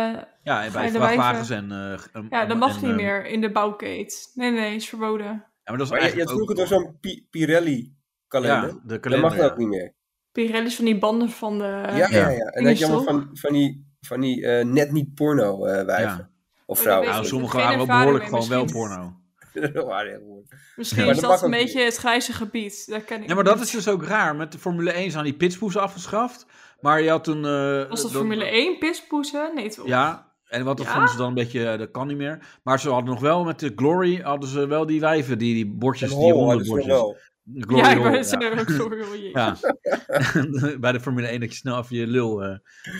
Speaker 2: ja, en bij
Speaker 4: Fijne
Speaker 2: vrachtwagens en... eh, en-
Speaker 4: ja, dat mag
Speaker 2: en,
Speaker 4: niet
Speaker 2: eh,
Speaker 4: meer in de bouwkeet. Nee, nee, is verboden.
Speaker 2: Ja, maar dat is
Speaker 3: Maar je, je
Speaker 2: eigenlijk
Speaker 3: had vroeger
Speaker 2: ook-
Speaker 3: toch zo'n Pi- Pirelli-kalender?
Speaker 2: Ja, de
Speaker 3: dat
Speaker 2: kalender.
Speaker 3: mag dat
Speaker 2: ja.
Speaker 3: ook niet meer.
Speaker 4: Pirelli's van die banden van de...
Speaker 3: ja, ja, ja. En dan had je
Speaker 4: is
Speaker 3: allemaal
Speaker 4: toch?
Speaker 3: van, van die, van die eh, net niet porno eh, wijven.
Speaker 2: Ja.
Speaker 3: Of
Speaker 4: Oh,
Speaker 3: vrouwen.
Speaker 4: dat
Speaker 2: Nou,
Speaker 4: weet
Speaker 2: sommige
Speaker 4: geen
Speaker 2: waren wel
Speaker 4: ervaring
Speaker 2: behoorlijk
Speaker 4: mee,
Speaker 2: gewoon wel
Speaker 4: misschien.
Speaker 2: porno.
Speaker 3: Dat waren heel mooi.
Speaker 4: Misschien
Speaker 3: Maar
Speaker 4: is
Speaker 3: dat
Speaker 4: dat
Speaker 3: mag
Speaker 4: een
Speaker 3: ook
Speaker 4: beetje het grijze gebied. Daar ken ik
Speaker 2: Ja, maar dat
Speaker 4: niet.
Speaker 2: is dus ook raar. Met de Formule 1 zijn die pitspoes afgeschaft. Maar je had toen... eh,
Speaker 4: Was dat Formule 1, pispoezen? Nee, toch?
Speaker 2: Ja, en wat dat
Speaker 4: Ja?
Speaker 2: vonden ze dan een beetje... eh, Dat kan niet meer. Maar ze hadden nog wel met de Glory... Hadden ze wel die wijven, die, die bordjes,
Speaker 3: En
Speaker 2: die
Speaker 3: hol
Speaker 2: ronde
Speaker 3: hadden ze nog
Speaker 2: bordjes.
Speaker 3: Oh, wel.
Speaker 2: Glory
Speaker 4: Ja, ik
Speaker 2: hole,
Speaker 4: ben het sorry hoor, jeetje.
Speaker 2: ja. Ja. Bij de Formule 1 dat je snel even je lul eh,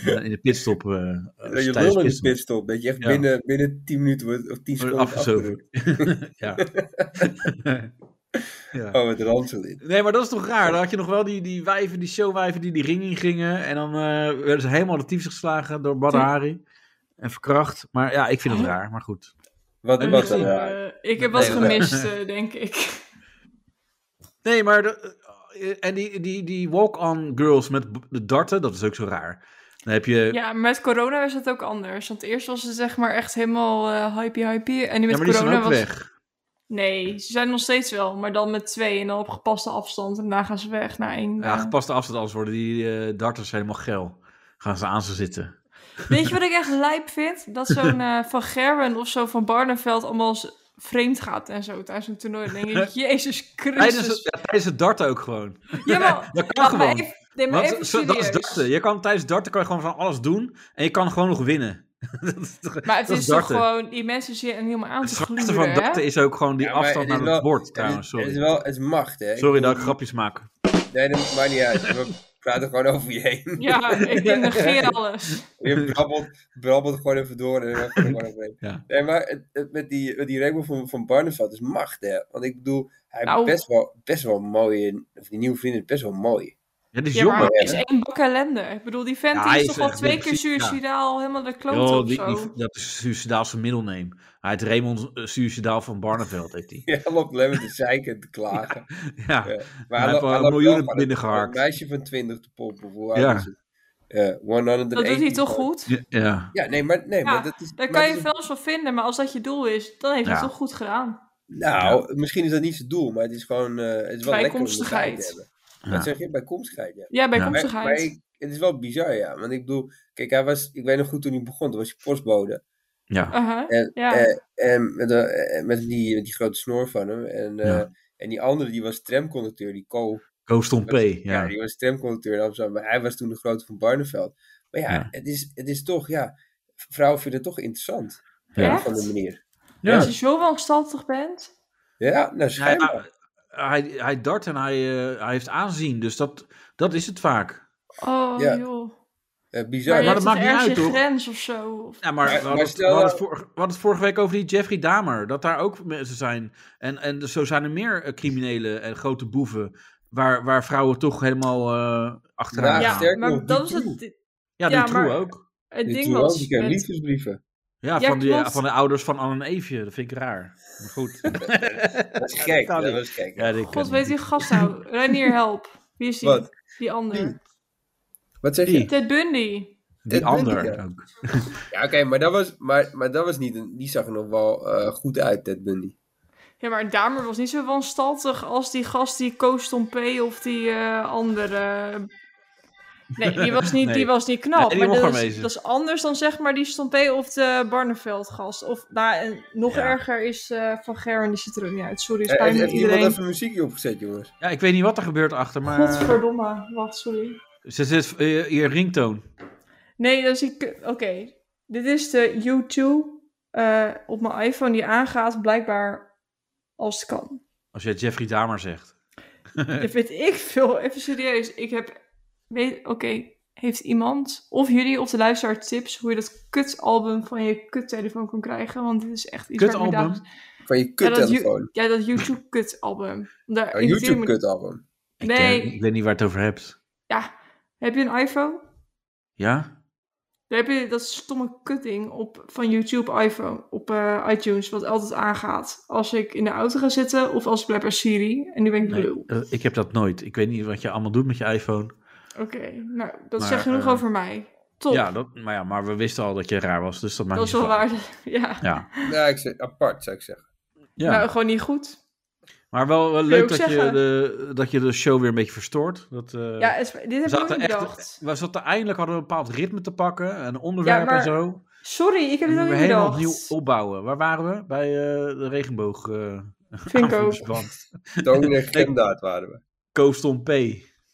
Speaker 2: eh, in de pitstop... eh, eh,
Speaker 3: Dat je
Speaker 2: tijdens
Speaker 3: lul in de
Speaker 2: pitstop
Speaker 3: pitstop. Dat je echt
Speaker 2: Ja.
Speaker 3: binnen, binnen 10 minuten wordt, of 10
Speaker 2: wordt
Speaker 3: seconden
Speaker 2: Afgezogen. ja. ja.
Speaker 3: Oh, het ransel in.
Speaker 2: Nee, maar dat is toch raar? Dan had je nog wel die, die wijven, die showwijven die die ring in gingen. En dan eh, werden ze helemaal de tyfus geslagen door Badahari. En verkracht. Maar ja, ik vind het raar. Maar goed.
Speaker 3: Wat,
Speaker 2: En
Speaker 3: wat
Speaker 2: die-
Speaker 3: dan?
Speaker 4: Eh,
Speaker 3: raar?
Speaker 4: ik heb wat
Speaker 2: Nee, maar-
Speaker 4: gemist, eh, denk ik.
Speaker 2: Nee, maar... De, eh, en die, die, die walk-on girls met b- de darten, dat is ook zo raar. Dan heb je...
Speaker 4: Ja, met corona was het ook anders. Want eerst was het zeg maar echt helemaal eh hypey hypey. En nu
Speaker 2: Ja,
Speaker 4: met
Speaker 2: maar die zijn
Speaker 4: corona
Speaker 2: ook
Speaker 4: was...
Speaker 2: weg.
Speaker 4: Nee, ze zijn nog steeds wel. Maar dan met twee en dan op gepaste afstand. En daarna gaan ze weg naar één.
Speaker 2: Ja,
Speaker 4: eh.
Speaker 2: gepaste afstand, anders worden die eh, darters helemaal geil. Gaan ze aan ze zitten.
Speaker 4: Weet je wat ik echt lijp vind? Dat zo'n eh, Van Gerwen of zo van Barneveld allemaal s- vreemd gaat en zo tijdens een toernooi. Dan denk ik, jezus
Speaker 2: Tijdens het,
Speaker 4: Christus.
Speaker 2: ja, tijdens het darten ook gewoon.
Speaker 4: Jawel,
Speaker 2: Dat kan
Speaker 4: laat me
Speaker 2: gewoon.
Speaker 4: even- Nee, maar
Speaker 2: Want
Speaker 4: even
Speaker 2: zo- dat is
Speaker 4: serieus.
Speaker 2: darten. Je kan tijdens darten kan je gewoon van alles doen. En je kan gewoon nog winnen. dat is toch-
Speaker 4: Maar het
Speaker 2: dat
Speaker 4: is,
Speaker 2: is
Speaker 4: toch
Speaker 2: darten.
Speaker 4: gewoon, die mensen zitten helemaal aan
Speaker 2: Het
Speaker 4: te
Speaker 2: slechte
Speaker 4: gluren,
Speaker 2: van
Speaker 4: hè?
Speaker 2: darten is ook gewoon die
Speaker 3: Ja, maar
Speaker 2: afstand
Speaker 3: het
Speaker 2: naar
Speaker 3: is
Speaker 2: het
Speaker 3: wel-
Speaker 2: bord
Speaker 3: het-
Speaker 2: trouwens.
Speaker 3: Het
Speaker 2: Sorry,
Speaker 3: is wel, het is macht, hè? Ik
Speaker 2: sorry dat ik
Speaker 3: bedoel,
Speaker 2: grapjes maak.
Speaker 3: Nee, dat maakt niet uit. We praten gewoon over je heen.
Speaker 4: Ja, ik negeer alles.
Speaker 3: Je brabbelt, brabbelt gewoon even door. En dan gaat het gewoon overheen.
Speaker 2: Ja.
Speaker 3: Nee, maar het, het- met die, met die regel van, van Barneveld is macht, hè? Want ik bedoel, hij
Speaker 4: Nou.
Speaker 3: heeft best wel, best wel mooie. Of die nieuwe vriend is best wel mooi.
Speaker 2: Ja, die is
Speaker 4: Ja, maar
Speaker 2: jonger.
Speaker 4: het is één bak ellende. Ik bedoel, die vent
Speaker 2: Ja,
Speaker 4: die
Speaker 2: hij
Speaker 4: is
Speaker 2: is
Speaker 4: toch al
Speaker 2: echt
Speaker 4: twee keer
Speaker 2: precies, ja.
Speaker 4: suicidaal helemaal de klote
Speaker 2: Joh,
Speaker 4: of
Speaker 2: die-
Speaker 4: zo.
Speaker 2: die- dat is suicidaal zijn middelneem. Hij heet Raymond eh, Suicidaal van Barneveld, heet hij.
Speaker 3: Ja, loopt alleen maar te zeiken en te klagen.
Speaker 2: Ja,
Speaker 3: Ja.
Speaker 2: Hij heeft
Speaker 3: loopt-
Speaker 2: wel
Speaker 3: loopt wel
Speaker 2: miljoenen
Speaker 3: gewoon
Speaker 2: binnengeharkt.
Speaker 3: Een meisje van 20 te pompen. Hoe oud
Speaker 2: Ja.
Speaker 3: is het? Ja, 180
Speaker 4: dat doet hij toch goed?
Speaker 2: ja. ja.
Speaker 3: Ja, nee, maar, nee, maar dat is.
Speaker 4: Daar
Speaker 3: maar
Speaker 4: kan je
Speaker 3: dat is-
Speaker 4: van alles van vinden, maar als dat je doel is, dan heeft hij
Speaker 2: Ja.
Speaker 4: het toch goed gedaan.
Speaker 3: Nou, misschien is dat niet zijn doel, maar het is gewoon. eh, het is wel lekker om het uit
Speaker 4: Bijkomstigheid.
Speaker 3: te hebben. Dat zeg je bijkomstigheid, ja.
Speaker 4: Ja, bij
Speaker 2: Ja.
Speaker 3: Maar, maar
Speaker 4: komstigheid.
Speaker 3: ik- het is wel bizar, ja. Want ik bedoel, kijk, hij was, ik weet nog goed toen hij begon, toen was hij postbode.
Speaker 2: ja.
Speaker 4: Aha,
Speaker 3: En,
Speaker 4: Uh-huh. ja.
Speaker 3: eh, en met, de- eh, met, die, met die grote snor van hem. En, eh,
Speaker 2: Ja.
Speaker 3: en die andere, die was tramconducteur, die Co.
Speaker 2: Ghost on P.
Speaker 3: Ja.
Speaker 2: Ja.
Speaker 3: die was tramconducteur in Amsterdam. Maar hij was toen de grote van Barneveld. Maar ja,
Speaker 2: Ja.
Speaker 3: Het, is, het is toch, ja, vrouwen vinden het toch interessant. Op
Speaker 4: Ja.
Speaker 3: een of andere manier.
Speaker 2: Ja.
Speaker 4: Als je zo welgestaltig bent.
Speaker 3: Ja, nou
Speaker 2: Hij,
Speaker 3: schijnbaar.
Speaker 2: hij, hij dart en hij, eh, hij heeft aanzien, dus dat, dat is het vaak.
Speaker 4: Oh,
Speaker 3: Ja.
Speaker 4: joh.
Speaker 3: Eh, bizar.
Speaker 4: Maar,
Speaker 2: dat
Speaker 4: dat
Speaker 2: maakt niet uit,
Speaker 4: je
Speaker 2: toch?
Speaker 4: grens of zo. Of-
Speaker 2: Ja, maar,
Speaker 3: Maar-
Speaker 2: we, hadden
Speaker 3: maar
Speaker 2: het,
Speaker 3: stel
Speaker 2: we hadden
Speaker 3: nou-
Speaker 2: het vorige, we hadden het vorige week over die Jeffrey Dahmer. Dat daar ook mensen zijn. En, en dus zo zijn er meer eh, criminelen en grote boeven. Waar, waar vrouwen toch helemaal eh, achteraan
Speaker 3: Nou,
Speaker 2: gaan. Ja,
Speaker 3: sterk-
Speaker 4: Ja,
Speaker 3: sterker
Speaker 4: maar
Speaker 3: nog,
Speaker 4: dat is
Speaker 3: die
Speaker 4: het,
Speaker 2: die
Speaker 4: ja,
Speaker 2: True
Speaker 4: maar-
Speaker 2: ook.
Speaker 4: het
Speaker 3: Die
Speaker 4: ding
Speaker 3: toen ook,
Speaker 4: was.
Speaker 3: die kreeg
Speaker 4: met-
Speaker 3: liefdesbrieven.
Speaker 2: Ja,
Speaker 4: Ja,
Speaker 2: van, die,
Speaker 4: klopt.
Speaker 2: van de ouders van Anne en Eefje. Dat vind ik raar. Maar goed.
Speaker 3: Dat is gek,
Speaker 2: kan
Speaker 3: dat
Speaker 2: niet.
Speaker 3: was gek.
Speaker 2: ja, die kan
Speaker 4: God, weet
Speaker 2: niet.
Speaker 4: die gast nou? Reinier, help. Wie is die?
Speaker 3: Wat?
Speaker 4: Die ander.
Speaker 3: Wat zeg
Speaker 2: Die.
Speaker 3: je?
Speaker 4: Ted Bundy.
Speaker 2: Die
Speaker 3: dat
Speaker 2: ander
Speaker 3: weet ik, ja.
Speaker 2: ook.
Speaker 3: Ja, oké, maar, dat was- maar, maar dat was niet een, die zag er nog wel eh, goed uit, Ted Bundy.
Speaker 4: Ja, maar Damer was niet zo wanstaltig als die gast die Koos Tom P. of die eh, andere. Nee, die was niet,
Speaker 2: Nee.
Speaker 4: die was niet knap.
Speaker 2: Nee, die
Speaker 4: maar
Speaker 2: mocht
Speaker 4: dat,
Speaker 2: gewoon
Speaker 4: is,
Speaker 2: wezen.
Speaker 4: dat is anders dan zeg maar die Stomp P. of de Barneveld gast. Of nou, en nog
Speaker 2: Ja.
Speaker 4: erger is eh, Van Gerwen, die ziet er ook niet uit. Sorry,
Speaker 3: Eh,
Speaker 4: spijt
Speaker 3: heeft
Speaker 4: me
Speaker 3: heeft iemand
Speaker 4: iedereen.
Speaker 3: even muziekje opgezet, jongens?
Speaker 2: Ja, ik weet niet wat er gebeurt achter, maar...
Speaker 4: Godverdomme, wacht, sorry.
Speaker 2: Ze zit eh, je ringtoon.
Speaker 4: Nee, dat is ik. eh, Oké, dit is de YouTube eh, op mijn iPhone die aangaat, blijkbaar als het kan.
Speaker 2: Als je Jeffrey Dahmer zegt.
Speaker 4: Dat vind ik veel. Even serieus. Ik heb. weet- Oké, heeft iemand of jullie of de luisteraar tips hoe je dat kutalbum van je kuttelefoon kan krijgen? Want dit is echt iets waar ik me
Speaker 2: Kutalbum?
Speaker 4: dagelijks-
Speaker 3: Van je kuttelefoon.
Speaker 4: Ja, dat YouTube kutalbum. Daar
Speaker 3: Oh,
Speaker 4: irriteer ik
Speaker 3: YouTube
Speaker 4: me-
Speaker 3: kutalbum.
Speaker 2: Ik,
Speaker 4: Nee.
Speaker 2: eh, ik weet niet waar je het over hebt.
Speaker 4: Ja. Heb je een iPhone?
Speaker 2: Ja?
Speaker 4: Daar heb je dat stomme kutting op van YouTube iPhone op eh, iTunes wat altijd aangaat als ik in de auto ga zitten of als ik blijf bij Siri en nu ben ik
Speaker 2: Nee,
Speaker 4: blue.
Speaker 2: eh, ik heb dat nooit. Ik weet niet wat je allemaal doet met je iPhone.
Speaker 4: Oké, nou dat
Speaker 2: Maar,
Speaker 4: zegt genoeg
Speaker 2: eh,
Speaker 4: over mij. Top.
Speaker 2: Ja, dat, maar ja, maar we wisten al dat je raar was, dus dat maakt
Speaker 4: dat is
Speaker 2: niet
Speaker 4: wel
Speaker 2: zoveel uit.
Speaker 4: waar. Ja.
Speaker 2: Ja,
Speaker 3: Ja, ik zeg, apart zou ik zeggen.
Speaker 2: ja.
Speaker 4: Nou, gewoon niet goed.
Speaker 2: maar wel eh,
Speaker 4: je
Speaker 2: leuk
Speaker 4: ook
Speaker 2: dat je,
Speaker 4: zeggen.
Speaker 2: de, dat je de show weer een beetje verstoort. Dat, eh,
Speaker 4: ja, het- dit
Speaker 2: we
Speaker 4: heb ik ook
Speaker 2: zaten
Speaker 4: niet
Speaker 2: echt,
Speaker 4: bedacht.
Speaker 2: we zaten eindelijk hadden we een bepaald ritme te pakken, een onderwerp
Speaker 4: maar-
Speaker 2: en zo.
Speaker 4: Sorry, ik heb
Speaker 2: En
Speaker 4: dit ook
Speaker 2: we
Speaker 4: niet
Speaker 2: helemaal
Speaker 4: bedacht.
Speaker 2: opnieuw opbouwen. Waar waren we? Bij eh, de regenboog. eh
Speaker 4: Vind ik ook.
Speaker 2: aanvoersband.
Speaker 3: Toon en Gemdaad waren we.
Speaker 2: Koostom P.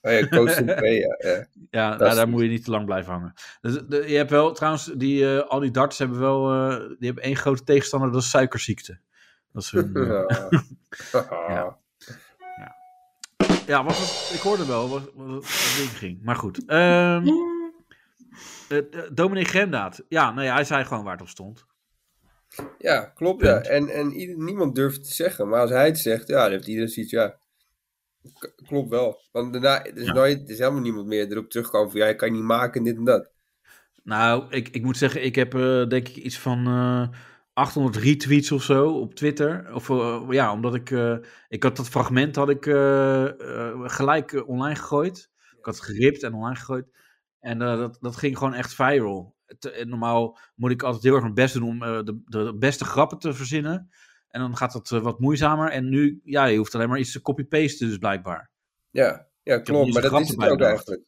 Speaker 3: Oh ja, Coast P, ja. ja.
Speaker 2: Ja, nou, daar
Speaker 3: is goed.
Speaker 2: moet je niet te lang blijven hangen. Dus, de- je hebt wel, trouwens, die, eh, al die darts hebben wel, eh, die hebben één grote tegenstander, dat is suikerziekte. Dat is hun, eh,
Speaker 3: Ja.
Speaker 2: Ja. ja, was het- ik hoorde wel wat, wat het ding ging. Maar goed. Ehm eh, eh, Dominic Gemdaad. Ja, nee, hij zei gewoon waar het op stond.
Speaker 3: Ja, klopt, ja. En, en ieder- niemand durft het te zeggen. Maar als hij het zegt, ja, dan heeft iedereen zoiets, ja... k- Klopt wel. Want daarna, er is, nooit, er is helemaal niemand meer erop terugkomen van... Ja, je kan niet maken, dit en dat.
Speaker 2: Nou, ik, ik moet zeggen, ik heb eh, denk ik iets van eh, 800 retweets of zo op Twitter. Of eh, ja, omdat ik, eh, ik had dat fragment had ik eh, eh, gelijk eh, online gegooid. Ik had het geript en online gegooid. En eh, dat, dat ging gewoon echt viral. Het, eh, normaal moet ik altijd heel erg mijn best doen om eh, de, de beste grappen te verzinnen. En dan gaat dat eh, wat moeizamer. En nu, ja, je hoeft alleen maar iets te copy-pasten dus blijkbaar.
Speaker 3: Ja, ja klopt.
Speaker 2: niet
Speaker 3: Maar
Speaker 2: eens
Speaker 3: dat
Speaker 2: een
Speaker 3: is
Speaker 2: grap erbij
Speaker 3: het ook
Speaker 2: bedacht.
Speaker 3: eigenlijk.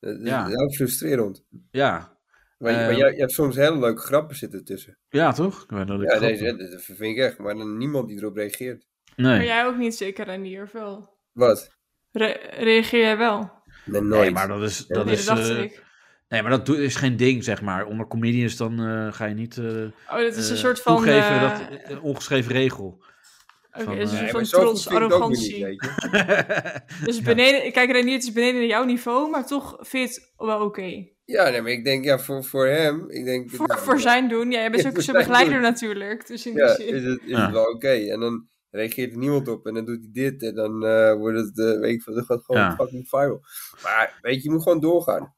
Speaker 3: Dat is
Speaker 2: Ja.
Speaker 3: heel frustrerend.
Speaker 2: Ja,
Speaker 3: Maar, je- maar
Speaker 2: Eh,
Speaker 3: jij, jij hebt soms hele leuke grappen zitten tussen.
Speaker 2: ja toch? Ik weet niet of ik
Speaker 3: Ja,
Speaker 2: grappig-
Speaker 3: deze, dat vind ik echt, maar dan niemand die erop reageert.
Speaker 2: nee.
Speaker 4: Maar jij ook niet zeker, Renier, of wel?
Speaker 3: Wat?
Speaker 4: Re- reageer jij wel?
Speaker 3: Nee, nooit.
Speaker 2: Nee, maar dat is. Dat
Speaker 4: Nee,
Speaker 2: is
Speaker 4: dat dacht
Speaker 2: eh,
Speaker 4: ik.
Speaker 2: nee, maar dat doe- is geen ding, zeg maar. Onder comedians dan eh, ga je niet. eh,
Speaker 4: Oh, dat is een
Speaker 2: eh,
Speaker 4: soort van...
Speaker 2: Toegeven
Speaker 4: eh,
Speaker 2: dat een ongeschreven regel.
Speaker 4: Oké,
Speaker 2: van,
Speaker 4: dat is
Speaker 2: eh,
Speaker 3: Nee,
Speaker 4: een soort
Speaker 3: maar
Speaker 4: van
Speaker 3: zo goed
Speaker 4: trots,
Speaker 3: vind ik het ook weer niet,
Speaker 4: arrogantie.
Speaker 3: weet je.
Speaker 2: Nou,
Speaker 4: Dus beneden, kijk Renier, het is beneden jouw niveau, maar toch vind je het wel oké.
Speaker 3: Ja, nee, maar ik denk, ja, voor, voor hem, ik denk...
Speaker 4: Voor,
Speaker 3: nou,
Speaker 4: voor zijn doen. Ja, jij bent
Speaker 3: Ja,
Speaker 4: ook
Speaker 3: voor
Speaker 4: zijn
Speaker 3: zijn
Speaker 4: begeleider
Speaker 3: doen.
Speaker 4: natuurlijk. Dus in die
Speaker 3: Ja,
Speaker 4: zin.
Speaker 3: is het, is
Speaker 2: Ja.
Speaker 3: het wel oké. En dan reageert er niemand op en dan doet hij dit en dan eh, wordt het, eh, weet ik veel, dan gaat het gewoon
Speaker 2: Ja.
Speaker 3: fucking viral. Maar, weet je, je moet gewoon doorgaan.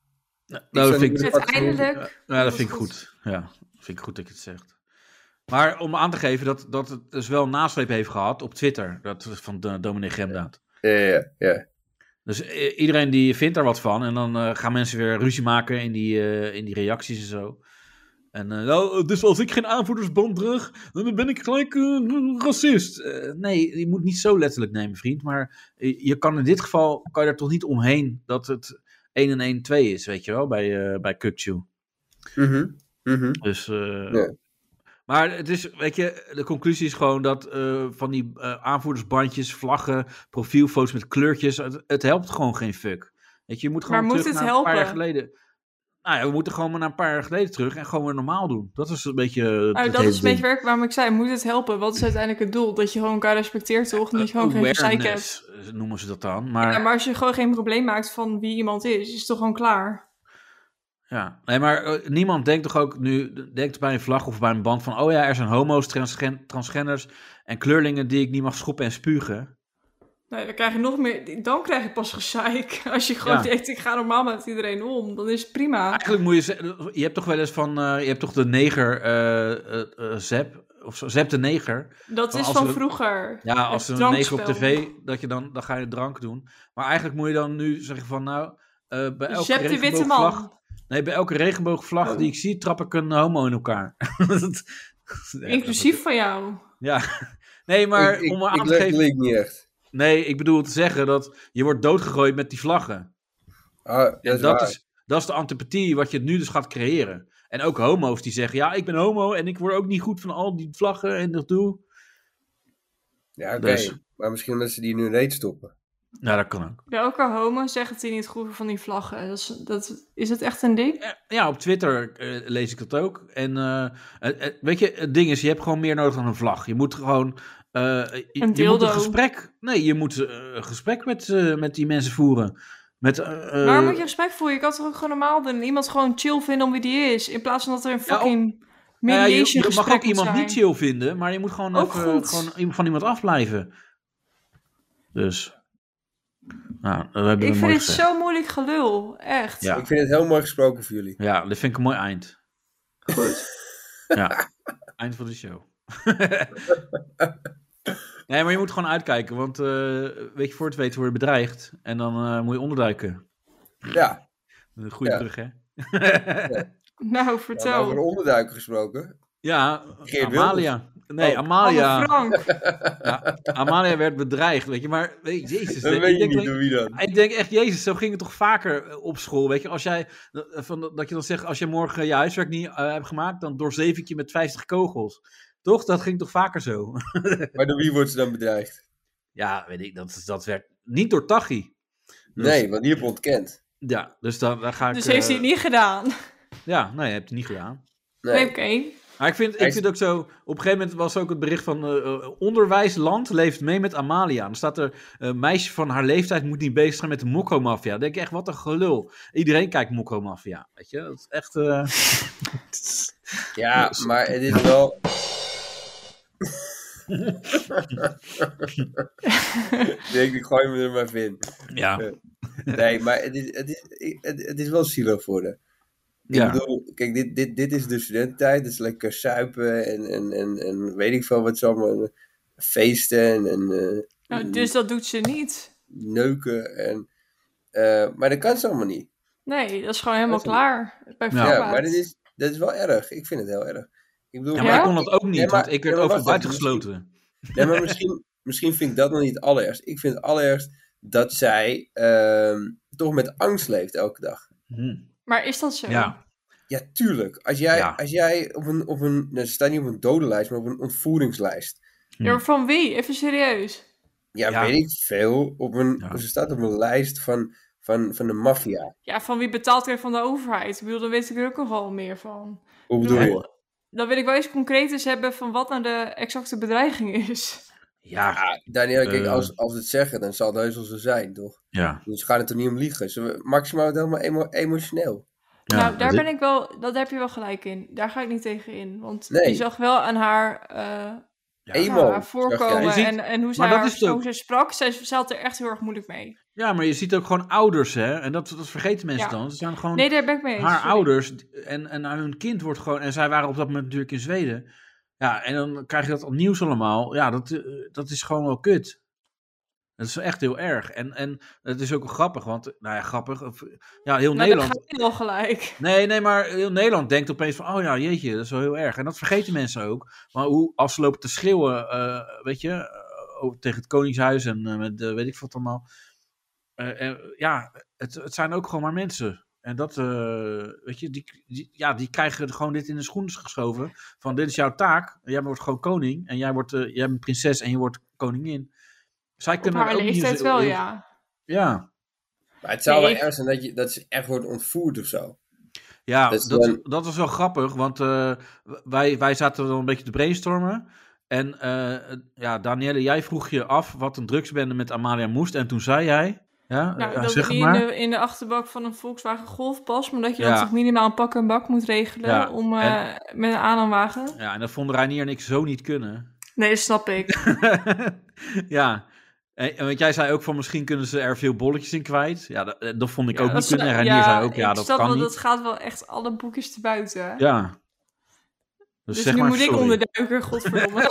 Speaker 2: Nou, dat
Speaker 3: zou
Speaker 2: vind
Speaker 3: niet
Speaker 2: ik,
Speaker 3: willen
Speaker 4: Uiteindelijk.
Speaker 2: ja, dat
Speaker 4: dat
Speaker 2: vind ik
Speaker 4: is
Speaker 2: goed. Ja, dat vind ik goed dat je het zegt. Maar om aan te geven dat, dat het dus wel een nasleep heeft gehad op Twitter. Dat is van eh, Dominic Gemdaad.
Speaker 3: Ja, ja, ja.
Speaker 2: Dus eh, iedereen die vindt daar wat van. En dan eh, gaan mensen weer ruzie maken in die, eh, in die reacties en zo. En eh, nou, dus als ik geen aanvoerdersband draag, dan ben ik gelijk eh, racist. Eh, nee, je moet niet zo letterlijk nemen, vriend. Maar je je kan in dit geval, kan je er toch niet omheen dat het 1 en 1 2 is, weet je wel, bij, eh bij Kukçu.
Speaker 3: Mhm, mhm.
Speaker 2: Dus, eh,
Speaker 3: Ja.
Speaker 2: Maar het is, weet je, de conclusie is gewoon dat eh, van die eh, aanvoerdersbandjes, vlaggen, profielfoto's met kleurtjes, het, het helpt gewoon geen fuck. Weet je, je moet gewoon
Speaker 4: Maar moet
Speaker 2: terug
Speaker 4: het
Speaker 2: naar een paar jaar
Speaker 4: helpen?
Speaker 2: geleden. Nou ja, we moeten gewoon maar naar een paar jaar geleden terug en gewoon weer normaal doen. Dat is een beetje. eh, het
Speaker 4: Nou,
Speaker 2: hele
Speaker 4: dat is een beetje
Speaker 2: ding.
Speaker 4: werk waarom ik zei, moet het helpen? Wat is uiteindelijk het doel? Dat je gewoon elkaar respecteert, toch? Dat je gewoon geen gezeik hebt.
Speaker 2: Awareness, eh, noemen ze dat dan. Maar,
Speaker 4: Ja, maar als je gewoon geen probleem maakt van wie iemand is, is het toch gewoon klaar?
Speaker 2: Ja, nee, maar eh, niemand denkt toch ook nu, denkt bij een vlag of bij een band van, oh ja, er zijn homo's, transgen- transgenders en kleurlingen die ik niet mag schoppen en spugen.
Speaker 4: Nee, dan krijg je nog meer... Dan krijg je pas gezeik. Als je gewoon
Speaker 2: Ja.
Speaker 4: denkt, ik ga normaal met iedereen om, dan is het prima.
Speaker 2: Eigenlijk moet je, ze- je hebt toch wel eens van, eh, je hebt toch de neger, eh eh, eh, Zep, of zo, Zep de neger.
Speaker 4: Dat
Speaker 2: Maar
Speaker 4: is
Speaker 2: als
Speaker 4: van
Speaker 2: we-
Speaker 4: vroeger.
Speaker 2: Ja,
Speaker 4: Het
Speaker 2: als er een neger
Speaker 4: drankspel.
Speaker 2: op tv, dat je dan, dan ga je drank doen. Maar eigenlijk moet je dan nu zeggen van, nou, eh, bij elke
Speaker 4: Zep de witte
Speaker 2: regenboogvlag-
Speaker 4: man.
Speaker 2: Nee, bij elke regenboogvlag
Speaker 3: Oh.
Speaker 2: die ik zie, trap ik een homo in elkaar. Dat-
Speaker 4: Inclusief van jou.
Speaker 2: Ja. Nee, maar
Speaker 3: ik, ik,
Speaker 2: om maar aan
Speaker 3: ik
Speaker 2: te
Speaker 3: leg de
Speaker 2: geven...
Speaker 3: link niet echt.
Speaker 2: Nee, ik bedoel te zeggen dat je wordt doodgegooid met die vlaggen.
Speaker 3: Ah, dat
Speaker 2: En
Speaker 3: is
Speaker 2: dat
Speaker 3: waar.
Speaker 2: is, dat is de antipathie wat je nu dus gaat creëren. En ook homo's die zeggen, ja, ik ben homo en ik word ook niet goed van al die vlaggen en dat doe.
Speaker 3: Ja, oké.
Speaker 2: dus-
Speaker 3: Maar misschien omdat ze die nu reeds stoppen.
Speaker 2: Nou, dat kan ook.
Speaker 4: Bij elkaar homo zegt dat hij niet goed van die vlaggen. Dat is, dat, is het echt een ding?
Speaker 2: Eh, Ja, op Twitter eh, lees ik dat ook. En eh, eh, eh, weet je, het ding is, je hebt gewoon meer nodig dan een vlag. Je moet gewoon... eh, je, je moet
Speaker 4: dildo.
Speaker 2: een gesprek... Nee, je moet eh, een gesprek met, eh, met die mensen voeren. Met, eh, eh,
Speaker 4: Waarom moet je respect voelen? Je kan toch ook gewoon normaal doen. Iemand gewoon chill vinden om wie die is. In plaats van dat er een
Speaker 2: Ja,
Speaker 4: fucking
Speaker 2: Nou ja,
Speaker 4: mediation
Speaker 2: je, je mag
Speaker 4: gesprek
Speaker 2: ook
Speaker 4: moet
Speaker 2: iemand
Speaker 4: zijn.
Speaker 2: niet chill vinden, maar je moet gewoon,
Speaker 4: Ook
Speaker 2: even,
Speaker 4: goed.
Speaker 2: gewoon iemand- van iemand afblijven. Dus. Nou, dat hebben we
Speaker 4: Ik
Speaker 2: mooi
Speaker 4: vind het
Speaker 2: gezegd.
Speaker 4: zo moeilijk gelul. Echt.
Speaker 2: Ja.
Speaker 3: Ik vind het heel mooi gesproken voor jullie.
Speaker 2: Ja, dat vind ik een mooi eind. Goed. Ja, eind van de show. nee, maar je moet gewoon uitkijken, want eh, weet je, voor het weten word je bedreigd en dan eh, moet je onderduiken.
Speaker 3: Ja,
Speaker 2: Een goede
Speaker 3: Ja.
Speaker 2: brug, hè?
Speaker 4: Nou,
Speaker 3: en
Speaker 4: vertel.
Speaker 3: over onderduiken gesproken.
Speaker 2: Ja,
Speaker 3: Geert
Speaker 2: Amalia. Nee,
Speaker 3: Oh.
Speaker 2: Amalia.
Speaker 4: Anne Frank.
Speaker 2: Ah, Ja, Amalia werd bedreigd, weet je. Maar, weet je, jezus.
Speaker 3: Dat
Speaker 2: ik
Speaker 3: weet je
Speaker 2: denk
Speaker 3: niet
Speaker 2: dat-
Speaker 3: door wie dan.
Speaker 2: Ik denk echt, Jezus, zo ging het toch vaker eh, op school. Weet je, als jij, eh, van, dat je dan zegt, als je morgen je huiswerk niet eh, hebt gemaakt, dan doorzeef ik je met 50 kogels. Toch? Dat ging toch vaker zo?
Speaker 3: Maar door wie wordt ze dan bedreigd?
Speaker 2: ja, weet ik, dat, dat werd niet door Tachi. Dus-
Speaker 3: Nee, want die heb je ontkend.
Speaker 2: Ja, dus dan, dan ga ik...
Speaker 4: Dus heeft hij
Speaker 2: eh,
Speaker 4: het niet gedaan.
Speaker 2: Ja, nee, heb je niet gedaan.
Speaker 4: Nee,
Speaker 3: Nee.
Speaker 4: oké.
Speaker 2: Maar ik vind, ik
Speaker 3: Hij is-
Speaker 2: vind ook zo, op een gegeven moment was ook het bericht van eh, eh, onderwijsland leeft mee met Amalia. Dan staat er, eh, meisje van haar leeftijd moet niet bezig zijn met de mokko-maffia. Dan denk ik echt, wat een gelul. Iedereen kijkt mokko-maffia, weet je. Dat is echt... eh,
Speaker 3: Ja, maar het is wel... ik denk, ik gooi me er maar even in.
Speaker 2: Ja,
Speaker 3: Nee, maar het is, het is, het, het is wel zielig voor haar. Ik
Speaker 2: ja.
Speaker 3: bedoel, kijk, dit, dit, dit is de studententijd. Dat is lekker suipen en, en, en, en weet ik veel wat ze allemaal... Feesten en... en eh,
Speaker 4: Nou, dus dat doet ze niet.
Speaker 3: neuken en... eh, maar dat kan ze allemaal niet.
Speaker 4: Nee, dat is gewoon helemaal
Speaker 3: Dat is-
Speaker 4: klaar. Bij
Speaker 2: Ja,
Speaker 3: Ja,
Speaker 4: voorbaat.
Speaker 3: maar dat is, dat is wel erg. Ik vind het heel erg. Ik bedoel,
Speaker 2: ja, maar
Speaker 4: Ja?
Speaker 2: ik kon dat ook niet,
Speaker 3: Nee, maar-
Speaker 2: want ik werd
Speaker 3: ja, maar
Speaker 2: overal
Speaker 3: wacht even, dus
Speaker 2: buitengesloten.
Speaker 3: Nee, maar misschien, misschien vind ik dat nog niet het allerergst. Ik vind het allerergst dat zij ehm, toch met angst leeft elke dag.
Speaker 2: Hm,
Speaker 4: Maar is dat zo?
Speaker 2: Ja,
Speaker 3: Ja, tuurlijk. Als jij,
Speaker 2: Ja.
Speaker 3: als jij op een, op een nou, ze staan niet op een dodenlijst, maar op een ontvoeringslijst.
Speaker 4: Ja,
Speaker 2: Hm.
Speaker 4: maar van wie? Even serieus.
Speaker 3: Ja,
Speaker 2: Ja.
Speaker 3: weet ik veel. Op een,
Speaker 2: Ja.
Speaker 3: Ze staat op een lijst van, van, van de maffia.
Speaker 4: Ja, van wie betaalt er van de overheid? Ik bedoel, daar weet ik er ook nogal meer van.
Speaker 3: Hoe bedoel
Speaker 4: Ja.
Speaker 3: je?
Speaker 4: Dan wil ik wel eens concreeters hebben van wat nou de exacte bedreiging is.
Speaker 2: Ja,
Speaker 3: Ah, Daniel, kijk,
Speaker 2: Eh.
Speaker 3: als, als we het zeggen, dan zal het heus wel zo zijn, toch?
Speaker 2: ja.
Speaker 3: Dus we gaan het er niet om liegen. Ze Maxima wordt helemaal emo- emotioneel.
Speaker 2: ja.
Speaker 4: nou, daar
Speaker 2: Dat-
Speaker 4: ben ik wel, dat heb je wel gelijk in. Daar ga ik niet tegen in. Want
Speaker 3: Nee.
Speaker 4: je zag wel aan haar, eh,
Speaker 2: Ja.
Speaker 3: Emo,
Speaker 4: nou, haar
Speaker 3: zag
Speaker 4: voorkomen
Speaker 3: jij.
Speaker 2: ziet-
Speaker 4: en, en hoe ze
Speaker 2: maar dat
Speaker 4: haar
Speaker 2: is het ook.
Speaker 4: hoe ze sprak. Zij, ze had er echt heel erg moeilijk mee.
Speaker 2: Ja, maar je ziet ook gewoon ouders, hè? En dat, dat vergeten mensen
Speaker 4: Ja.
Speaker 2: dan. Ze zijn gewoon
Speaker 4: Nee, daar ben ik mee eens.
Speaker 2: haar
Speaker 4: sorry.
Speaker 2: ouders en, en aan hun kind wordt gewoon. En zij waren op dat moment natuurlijk in Zweden. Ja, en dan krijg je dat op nieuws allemaal. Ja, dat, eh, dat is gewoon wel kut. Dat is echt heel erg. En, en het is ook wel grappig, want, nou ja, grappig. of- Ja, heel
Speaker 4: Nou,
Speaker 2: Nederland.
Speaker 4: daar ga je wel gelijk.
Speaker 2: Nee, nee, maar eh, heel Nederland denkt opeens van, oh ja, jeetje, dat is wel heel erg. En dat vergeten mensen ook. Maar hoe, als ze lopen te schreeuwen, eh, weet je, eh, over- tegen het Koningshuis en eh, met eh, weet ik wat allemaal. Eh, eh, ja, het, het zijn ook gewoon maar mensen. En dat, eh, weet je, die, die- ja, die krijgen gewoon dit in de schoenen geschoven. Van, dit is jouw taak, jij wordt gewoon koning. En jij, wordt, eh, jij bent prinses en je wordt koningin. Zij
Speaker 4: Op
Speaker 2: kunnen er
Speaker 4: haar
Speaker 2: ook niet
Speaker 4: leeftijd
Speaker 2: zo-
Speaker 4: wel,
Speaker 2: heel-
Speaker 4: ja.
Speaker 2: Ja,
Speaker 3: Maar het zou
Speaker 4: Nee,
Speaker 3: wel
Speaker 4: ik-
Speaker 3: erg zijn dat, je, dat ze echt wordt ontvoerd of zo.
Speaker 2: Ja,
Speaker 3: Dus
Speaker 2: dat,
Speaker 3: dan-
Speaker 2: dat was wel grappig, want eh, wij, wij zaten dan een beetje te brainstormen. En eh, ja, Danielle, jij vroeg je af wat een drugsbende met Amalia moest. En toen zei jij, ja,
Speaker 4: Nou,
Speaker 2: eh,
Speaker 4: dat
Speaker 2: zeg
Speaker 4: het niet
Speaker 2: maar.
Speaker 4: in, de, in de achterbak van een Volkswagen Golf past, maar dat je
Speaker 2: Ja.
Speaker 4: dan toch minimaal een pak en bak moet regelen
Speaker 2: Ja,
Speaker 4: om, eh, met een aanhangwagen.
Speaker 2: Ja, en dat vonden Reinier en ik zo niet kunnen.
Speaker 4: Nee, dat snap ik.
Speaker 2: ja, en, en want jij zei ook van misschien kunnen ze er veel bolletjes in kwijt. Ja, dat, eh, dat vond ik ook
Speaker 4: Dat
Speaker 2: niet
Speaker 4: ze-
Speaker 2: kunnen. En Reinier zei ook, ja,
Speaker 4: ik
Speaker 2: dat
Speaker 4: snap
Speaker 2: kan
Speaker 4: wel,
Speaker 2: niet.
Speaker 4: Dat gaat wel echt alle boekjes te buiten.
Speaker 2: Ja. Dus,
Speaker 4: dus
Speaker 2: zeg
Speaker 4: nu
Speaker 2: maar
Speaker 4: moet ik
Speaker 2: sorry.
Speaker 4: onderduiken, godverdomme.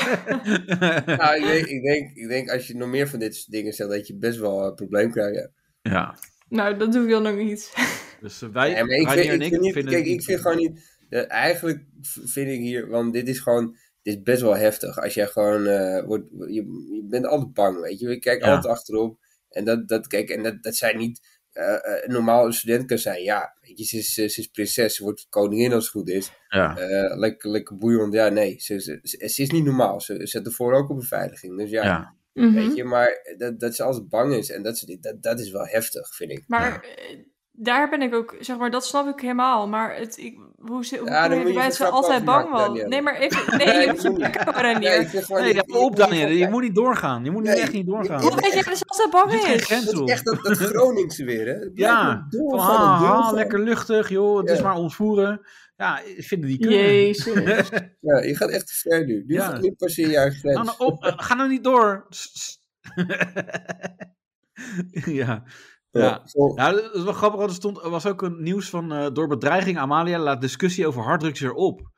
Speaker 3: Nou, ik, denk, ik, denk, ik denk als je nog meer van dit soort dingen zegt, dat je best wel eh, een probleem krijgt. Ja.
Speaker 2: ja,
Speaker 4: nou, dat doe ik dan nog niet.
Speaker 2: dus eh, wij,
Speaker 3: Nee, maar ik
Speaker 2: Reinier
Speaker 3: vind, ik
Speaker 2: en ik
Speaker 3: vind niet-
Speaker 2: vinden
Speaker 3: kijk,
Speaker 2: het
Speaker 3: ik
Speaker 2: niet
Speaker 3: vind gewoon niet. ja, eigenlijk v- vind ik hier, want dit is gewoon, dit is best wel heftig. Als jij gewoon eh, wordt, je, je bent altijd bang, weet je. Je kijkt
Speaker 2: Ja.
Speaker 3: altijd achterop. En dat, dat kijk, en dat, dat zij niet eh, eh, normaal een student kan zijn. Ja, weet je, ze is, eh, ze is prinses, ze wordt koningin als het goed is.
Speaker 2: Ja.
Speaker 3: Eh, lekker, lekker boeiend, ja, nee. Ze, ze, ze- ze is niet normaal. Ze zet ervoor ook op beveiliging. Dus ja,
Speaker 2: ja.
Speaker 4: Mhm.
Speaker 3: weet je, maar dat, dat ze altijd bang is en dat, ze, dat, dat is wel heftig, vind ik.
Speaker 4: Maar eh, daar ben ik ook, zeg maar, dat snap ik helemaal. Maar het, ik, hoe ze, hoe
Speaker 3: Ja, daar
Speaker 4: kom je
Speaker 3: moet je
Speaker 4: erbij
Speaker 3: een
Speaker 4: dat ze
Speaker 3: grap
Speaker 4: altijd
Speaker 3: over
Speaker 4: bang
Speaker 3: maken,
Speaker 4: was?
Speaker 3: Danielle.
Speaker 4: Nee, maar even, nee, je
Speaker 3: Nee,
Speaker 4: hoeft
Speaker 3: dat moet niet.
Speaker 4: te maar
Speaker 3: Nee,
Speaker 4: niet.
Speaker 3: ik vind gewoon
Speaker 2: Nee,
Speaker 3: niet-
Speaker 2: ja, op Daniel, je
Speaker 3: Ja,
Speaker 2: moet niet doorgaan. Je moet nu
Speaker 3: Nee,
Speaker 2: echt niet doorgaan.
Speaker 3: je-
Speaker 4: Hoe weet je dat ze altijd bang
Speaker 2: Er zit geen
Speaker 4: is?
Speaker 2: grens
Speaker 3: Dat
Speaker 2: op.
Speaker 3: is echt dat, dat Groningse weer, hè? Het lijkt
Speaker 2: Ja,
Speaker 3: me
Speaker 2: van,
Speaker 3: doorvallen,
Speaker 2: ah, ah,
Speaker 3: doorvallen.
Speaker 2: lekker luchtig, joh. Het is
Speaker 3: Ja.
Speaker 2: maar ontvoeren. Ja, ik vind die kunnen.
Speaker 4: Jezus.
Speaker 3: Ja, je gaat echt te ver nu. Nu,
Speaker 2: Ja.
Speaker 3: gaat- nu passeer je eigen grens.
Speaker 2: Ga nou, op, eh, ga nou niet door. S- s- ja. Ja.
Speaker 3: zo-
Speaker 2: ja, dat is wel grappig, want er stond, er was ook een nieuws van eh, door bedreiging Amalia laat discussie over harddrugs weer op.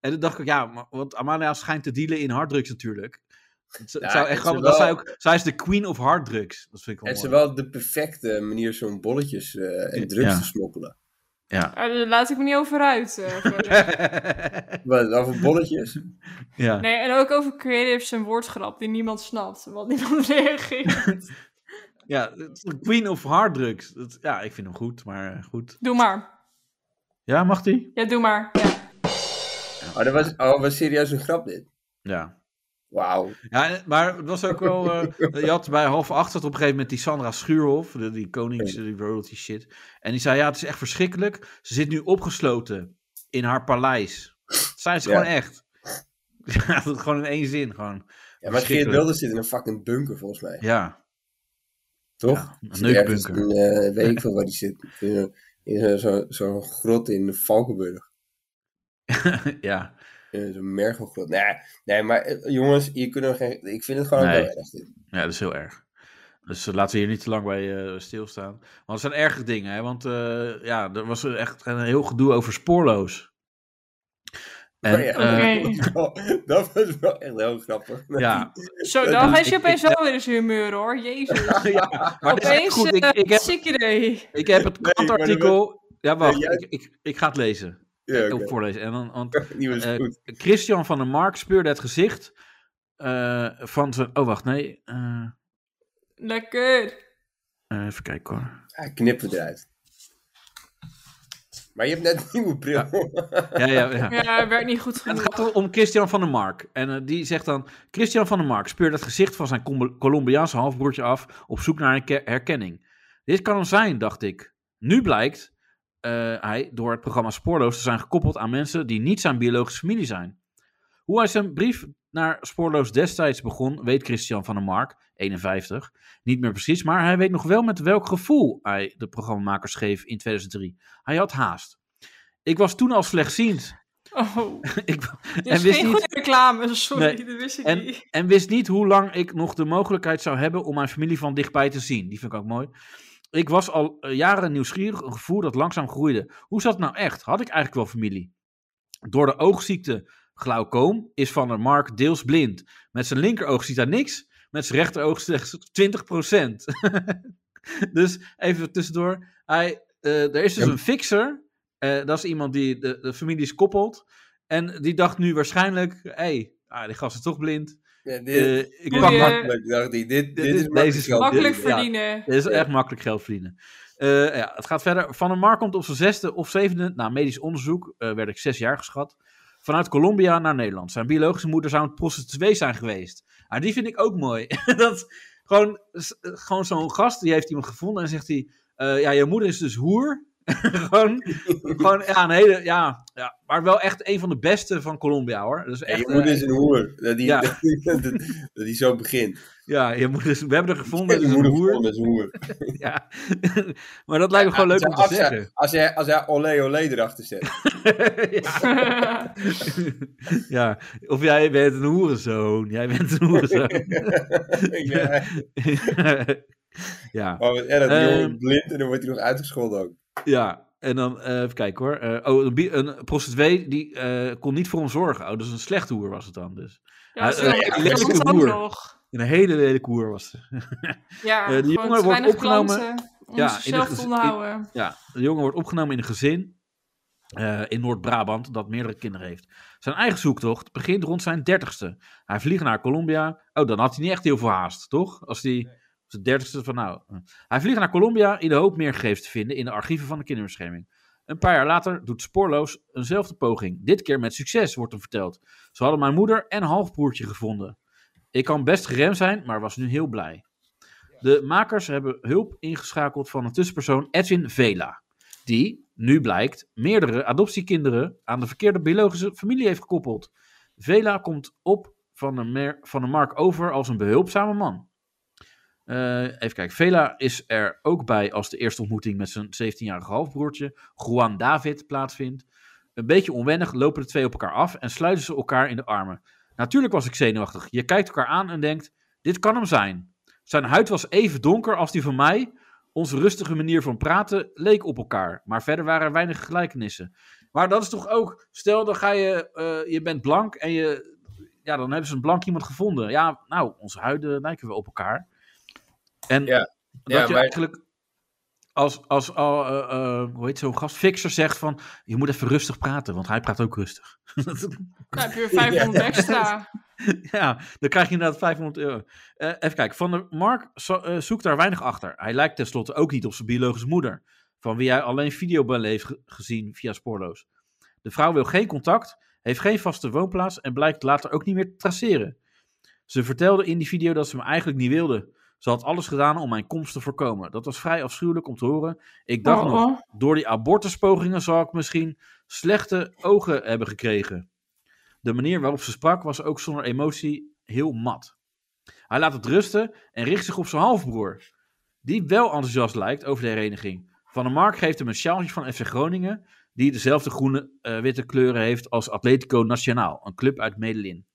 Speaker 2: En toen dacht ik, ja, maar, want Amalia schijnt te dealen in harddrugs natuurlijk. Het, het
Speaker 3: Ja,
Speaker 2: zou
Speaker 3: en
Speaker 2: echt
Speaker 3: ze
Speaker 2: grappig, dat
Speaker 3: wel-
Speaker 2: zij, ook, zij is de queen of harddrugs. Dat vind ik wel
Speaker 3: Het is
Speaker 2: mooi.
Speaker 3: wel de perfecte manier zo'n bolletjes eh, en drugs
Speaker 2: Ja.
Speaker 3: te smokkelen.
Speaker 4: Ah, Daar laat ik me niet over uit. eh, verder.
Speaker 3: Wat, dan voor bolletjes?
Speaker 2: ja.
Speaker 4: nee, en ook over creatives en woordgrap die niemand snapt. Want niemand reageert.
Speaker 2: Ja, het is Queen of Harddrugs. Dat, ja, ik vind hem goed, maar eh, goed.
Speaker 4: Doe maar.
Speaker 2: Ja, mag die?
Speaker 4: Ja, doe maar. Ja.
Speaker 3: Oh, dat was, oh, was serieus een grap dit.
Speaker 2: Ja.
Speaker 3: Wauw.
Speaker 2: ja, en- maar het was ook wel... eh, je had bij half acht zat op een gegeven moment die Sandra Schuurhof, de- die konings, eh, die royalty shit. En die zei, ja, het is echt verschrikkelijk. Ze zit nu opgesloten in haar paleis. Zij is
Speaker 3: Ja.
Speaker 2: gewoon echt. Ja, dat gewoon in één zin, gewoon.
Speaker 3: Ja, maar Geert
Speaker 2: Verschrikkelijk.
Speaker 3: Wilders zit in een fucking bunker volgens mij.
Speaker 2: Ja,
Speaker 3: Toch?
Speaker 2: ja, een
Speaker 3: Zit ergens
Speaker 2: neukbunker.
Speaker 3: in, eh, weet ik veel waar die zit. In, een- in zo'n zo, zo'n grot in Valkenburg.
Speaker 2: ja.
Speaker 3: In zo'n mergelgrot. Nee, nee maar eh, jongens, hier kunnen we geen... Ik vind het gewoon
Speaker 2: Nee.
Speaker 3: wel erg. dit.
Speaker 2: Ja, dat is heel erg. Dus eh, laten we hier niet te lang bij eh, stilstaan. Want het zijn erge dingen, hè? Want eh, ja, er was echt een heel gedoe over spoorloos. En,
Speaker 3: Oh ja.
Speaker 2: eh,
Speaker 4: Oké.
Speaker 3: Oh, dat was wel echt heel grappig.
Speaker 2: ja.
Speaker 4: Zo, dan
Speaker 2: Ja,
Speaker 4: gaat je
Speaker 2: ik-
Speaker 4: opeens wel weer eens humeur hoor. Jezus.
Speaker 2: ja, maar dit is echt
Speaker 4: Opeens eh,
Speaker 2: goed. Ik, ik, heb,
Speaker 4: ziek idee.
Speaker 2: ik heb het
Speaker 3: maar dat-
Speaker 2: krantartikel... Ja, wacht.
Speaker 3: Nee,
Speaker 2: ik, ik, ik ga het lezen.
Speaker 3: Ja,
Speaker 2: Ik
Speaker 3: oké.
Speaker 2: ook voorlezen. En dan, want
Speaker 3: Die was
Speaker 2: Eh,
Speaker 3: goed.
Speaker 2: Christian van der Mark speurde het gezicht eh, van zijn... Oh, wacht. Nee. eh,
Speaker 4: Lekker.
Speaker 2: eh, even kijken hoor.
Speaker 3: Hij knipt het eruit. Maar je hebt net een nieuwe bril.
Speaker 2: Ja, ja, ja.
Speaker 4: Ja, werd niet goed
Speaker 2: Het
Speaker 4: genoeg.
Speaker 2: gaat om Christian van der Mark. En eh, die zegt dan... Christian van der Mark speurt het gezicht van zijn Combo- Colombiaanse halfbroertje af... op zoek naar een ke- herkenning. Dit kan hem zijn, dacht ik. Nu blijkt eh, hij door het programma Spoorloos te zijn gekoppeld aan mensen die niet zijn biologische familie zijn. Hoe hij zijn brief naar Spoorloos destijds begon, weet Christian van der Mark, 51, niet meer precies, maar hij weet nog wel met welk gevoel hij de programmamakers schreef in 2003. Hij had haast. Ik was toen al slechtziend.
Speaker 4: Oh,
Speaker 2: Ik,
Speaker 4: dit is
Speaker 2: wist
Speaker 4: geen
Speaker 2: niet-
Speaker 4: goede reclame. Sorry,
Speaker 2: Nee,
Speaker 4: dat wist ik
Speaker 2: en,
Speaker 4: niet.
Speaker 2: en wist niet hoe lang ik nog de mogelijkheid zou hebben om mijn familie van dichtbij te zien. Die vind ik ook mooi. Ik was al eh, jaren nieuwsgierig, een gevoel dat langzaam groeide. Hoe zat het nou echt? Had ik eigenlijk wel familie? Door de oogziekte glaucoom is Van der Mark deels blind. Met zijn linkeroog ziet hij niks, met zijn rechteroog slechts 20%. dus even tussendoor. Hij, eh, er is dus
Speaker 3: Ja.
Speaker 2: een fixer, eh, dat is iemand die de, de families koppelt. En die dacht nu waarschijnlijk, hé, hey, ah, die gast is toch blind.
Speaker 3: Ja, dit,
Speaker 2: Eh, ik
Speaker 4: Doe
Speaker 2: pak
Speaker 4: je-
Speaker 2: mak-
Speaker 3: makkelijk, dacht ik. Dit, dit,
Speaker 2: dit-
Speaker 3: is
Speaker 2: deze
Speaker 3: makkelijk
Speaker 2: is
Speaker 3: geld.
Speaker 4: Makkelijk
Speaker 2: ja.
Speaker 4: verdienen.
Speaker 2: Oh, dit is echt makkelijk geld verdienen. Eh, ja, het gaat verder. Van der Mar komt op zijn zesde of zevende, na medisch onderzoek, eh, werd ik zes jaar geschat, vanuit Colombia naar Nederland. Zijn biologische moeder zou een prostituee zijn geweest. Ah, die vind ik ook mooi. Dat, gewoon s- gewoon zo'n gast, die heeft iemand gevonden en zegt hij, eh, ja, je moeder is dus hoer. gewoon, gewoon ja, een hele, ja, ja, maar wel echt een van de beste van Colombia hoor. Dus
Speaker 3: Ja,
Speaker 2: echt,
Speaker 3: je
Speaker 2: eh,
Speaker 3: moeder is een hoer. Dat die,
Speaker 2: ja.
Speaker 3: dat, die- dat, dat die zo begint.
Speaker 2: ja, je moeder is, we hebben er gevonden,
Speaker 3: Je
Speaker 2: dus een
Speaker 3: moeder
Speaker 2: hoer.
Speaker 3: vond dat is een hoer.
Speaker 2: Ja. maar dat lijkt me gewoon
Speaker 3: Ja,
Speaker 2: leuk om te
Speaker 3: als hij-
Speaker 2: zeggen.
Speaker 3: Als hij, als hij olé olé erachter zet.
Speaker 2: ja. ja. Of jij bent een hoerenzoon. Jij bent een hoerenzoon.
Speaker 3: ja,
Speaker 2: ja.
Speaker 3: maar wat erg. Die jongen
Speaker 2: Ehm.
Speaker 3: is blind en dan wordt hij nog uitgescholden ook.
Speaker 2: ja. En dan, eh, even kijken hoor. Eh, oh, een, bi- een prostituee die eh, kon niet voor hem zorgen. Oh, dus een slechte hoer was het dan dus.
Speaker 4: Ja,
Speaker 2: Eh,
Speaker 4: zo,
Speaker 2: eh,
Speaker 4: dat
Speaker 2: lelijke
Speaker 4: komt ook
Speaker 2: boer.
Speaker 4: nog.
Speaker 2: Een hele lelijke hoer was het.
Speaker 4: Ja,
Speaker 2: Eh, die jongen
Speaker 4: gewoon te
Speaker 2: wordt
Speaker 4: weinig
Speaker 2: opgenomen-
Speaker 4: klanten om
Speaker 2: Ja,
Speaker 4: zichzelf
Speaker 2: in de
Speaker 4: te
Speaker 2: gez-
Speaker 4: onderhouden.
Speaker 2: Ja, de jongen wordt opgenomen in een gezin eh, in Noord-Brabant dat meerdere kinderen heeft. Zijn eigen zoektocht begint rond zijn dertigste. Hij vliegt naar Colombia. Oh, dan had hij niet echt heel veel haast, toch? Als hij op zijn dertigste van nou... eh. Hij vliegt naar Colombia in de hoop meer gegevens te vinden in de archieven van de kinderbescherming. Een paar jaar later doet Spoorloos eenzelfde poging. Dit keer met succes, wordt hem verteld. Ze hadden mijn moeder en halfbroertje gevonden. Ik kan best geremd zijn, maar was nu heel blij. De makers hebben hulp ingeschakeld van een tussenpersoon, Edwin Vela. Die, nu blijkt, meerdere adoptiekinderen aan de verkeerde biologische familie heeft gekoppeld. Vela komt op van de, mer- van de Mark over als een behulpzame man. Eh, even kijken, Vela is er ook bij als de eerste ontmoeting met zijn 17-jarige halfbroertje, Juan David, plaatsvindt. Een beetje onwennig lopen de twee op elkaar af en sluiten ze elkaar in de armen. Natuurlijk was ik zenuwachtig. Je kijkt elkaar aan en denkt: dit kan hem zijn. Zijn huid was even donker als die van mij. Onze rustige manier van praten leek op elkaar. Maar verder waren er weinig gelijkenissen. Maar dat is toch ook. Stel, dan ga je. eh, je bent blank en je. Ja, dan hebben ze een blank iemand gevonden. Ja, nou, onze huiden lijken wel op elkaar. En
Speaker 3: Ja,
Speaker 2: dat
Speaker 3: ja,
Speaker 2: je
Speaker 3: maar-
Speaker 2: eigenlijk. Als, als al, eh, eh, hoe heet zo'n gast, Fixer zegt van, je moet even rustig praten, want hij praat ook rustig.
Speaker 4: Nou, heb je weer 500 extra.
Speaker 2: Ja, dan krijg je inderdaad 500 euro. Eh, even kijken, Van der Mark zo- eh, zoekt daar weinig achter. Hij lijkt tenslotte ook niet op zijn biologische moeder, van wie hij alleen videobellen heeft ge- gezien via spoorloos. De vrouw wil geen contact, heeft geen vaste woonplaats en blijkt later ook niet meer te traceren. Ze vertelde in die video dat ze me eigenlijk niet wilde. Ze had alles gedaan om mijn komst te voorkomen. Dat was vrij afschuwelijk om te horen. Ik dacht
Speaker 4: Oh,
Speaker 2: nog,
Speaker 4: oh.
Speaker 2: door die abortuspogingen zal ik misschien slechte ogen hebben gekregen. De manier waarop ze sprak was ook zonder emotie heel mat. Hij laat het rusten en richt zich op zijn halfbroer, die wel enthousiast lijkt over de hereniging. Van der Mark geeft hem een sjaaltje van FC Groningen, die dezelfde groene-witte kleuren heeft als Atletico Nacional, een club uit Medellin.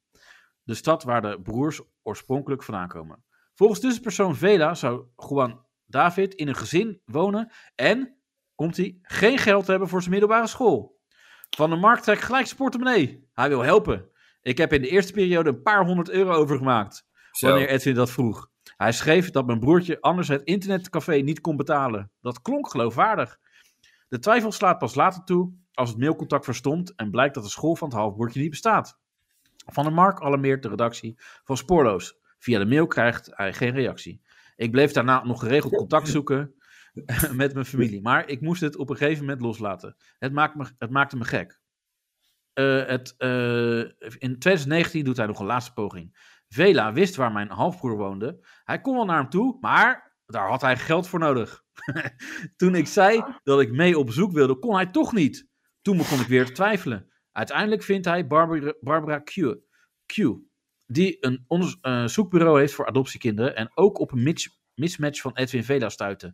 Speaker 2: De stad waar de broers oorspronkelijk vandaan komen. Volgens tussenpersoon Vela zou Juan David in een gezin wonen en komt hij geen geld hebben voor zijn middelbare school. Van der Markt trekt gelijk zijn portemonnee. Hij wil helpen. Ik heb in de eerste periode een paar honderd euro overgemaakt.
Speaker 3: Zo.
Speaker 2: Wanneer Edwin dat vroeg. Hij schreef dat mijn broertje anders het internetcafé niet kon betalen. Dat klonk geloofwaardig. De twijfel slaat pas later toe als het mailcontact verstomt en blijkt dat de school van het halfbroertje niet bestaat. Van der Mark alarmeert de redactie van Spoorloos. Via de mail krijgt hij geen reactie. Ik bleef daarna nog geregeld contact zoeken met mijn familie. Maar ik moest het op een gegeven moment loslaten. Het, maakt me, het maakte me gek. Eh, het, eh, in 2019 doet hij nog een laatste poging. Vela wist waar mijn halfbroer woonde. Hij kon wel naar hem toe, maar daar had hij geld voor nodig. Toen ik zei dat ik mee op zoek wilde, kon hij toch niet. Toen begon ik weer te twijfelen. Uiteindelijk vindt hij Barbara, Barbara Q, Q, die een onderz- eh, zoekbureau heeft voor adoptiekinderen en ook op een mis- mismatch van Edwin Vela stuitte.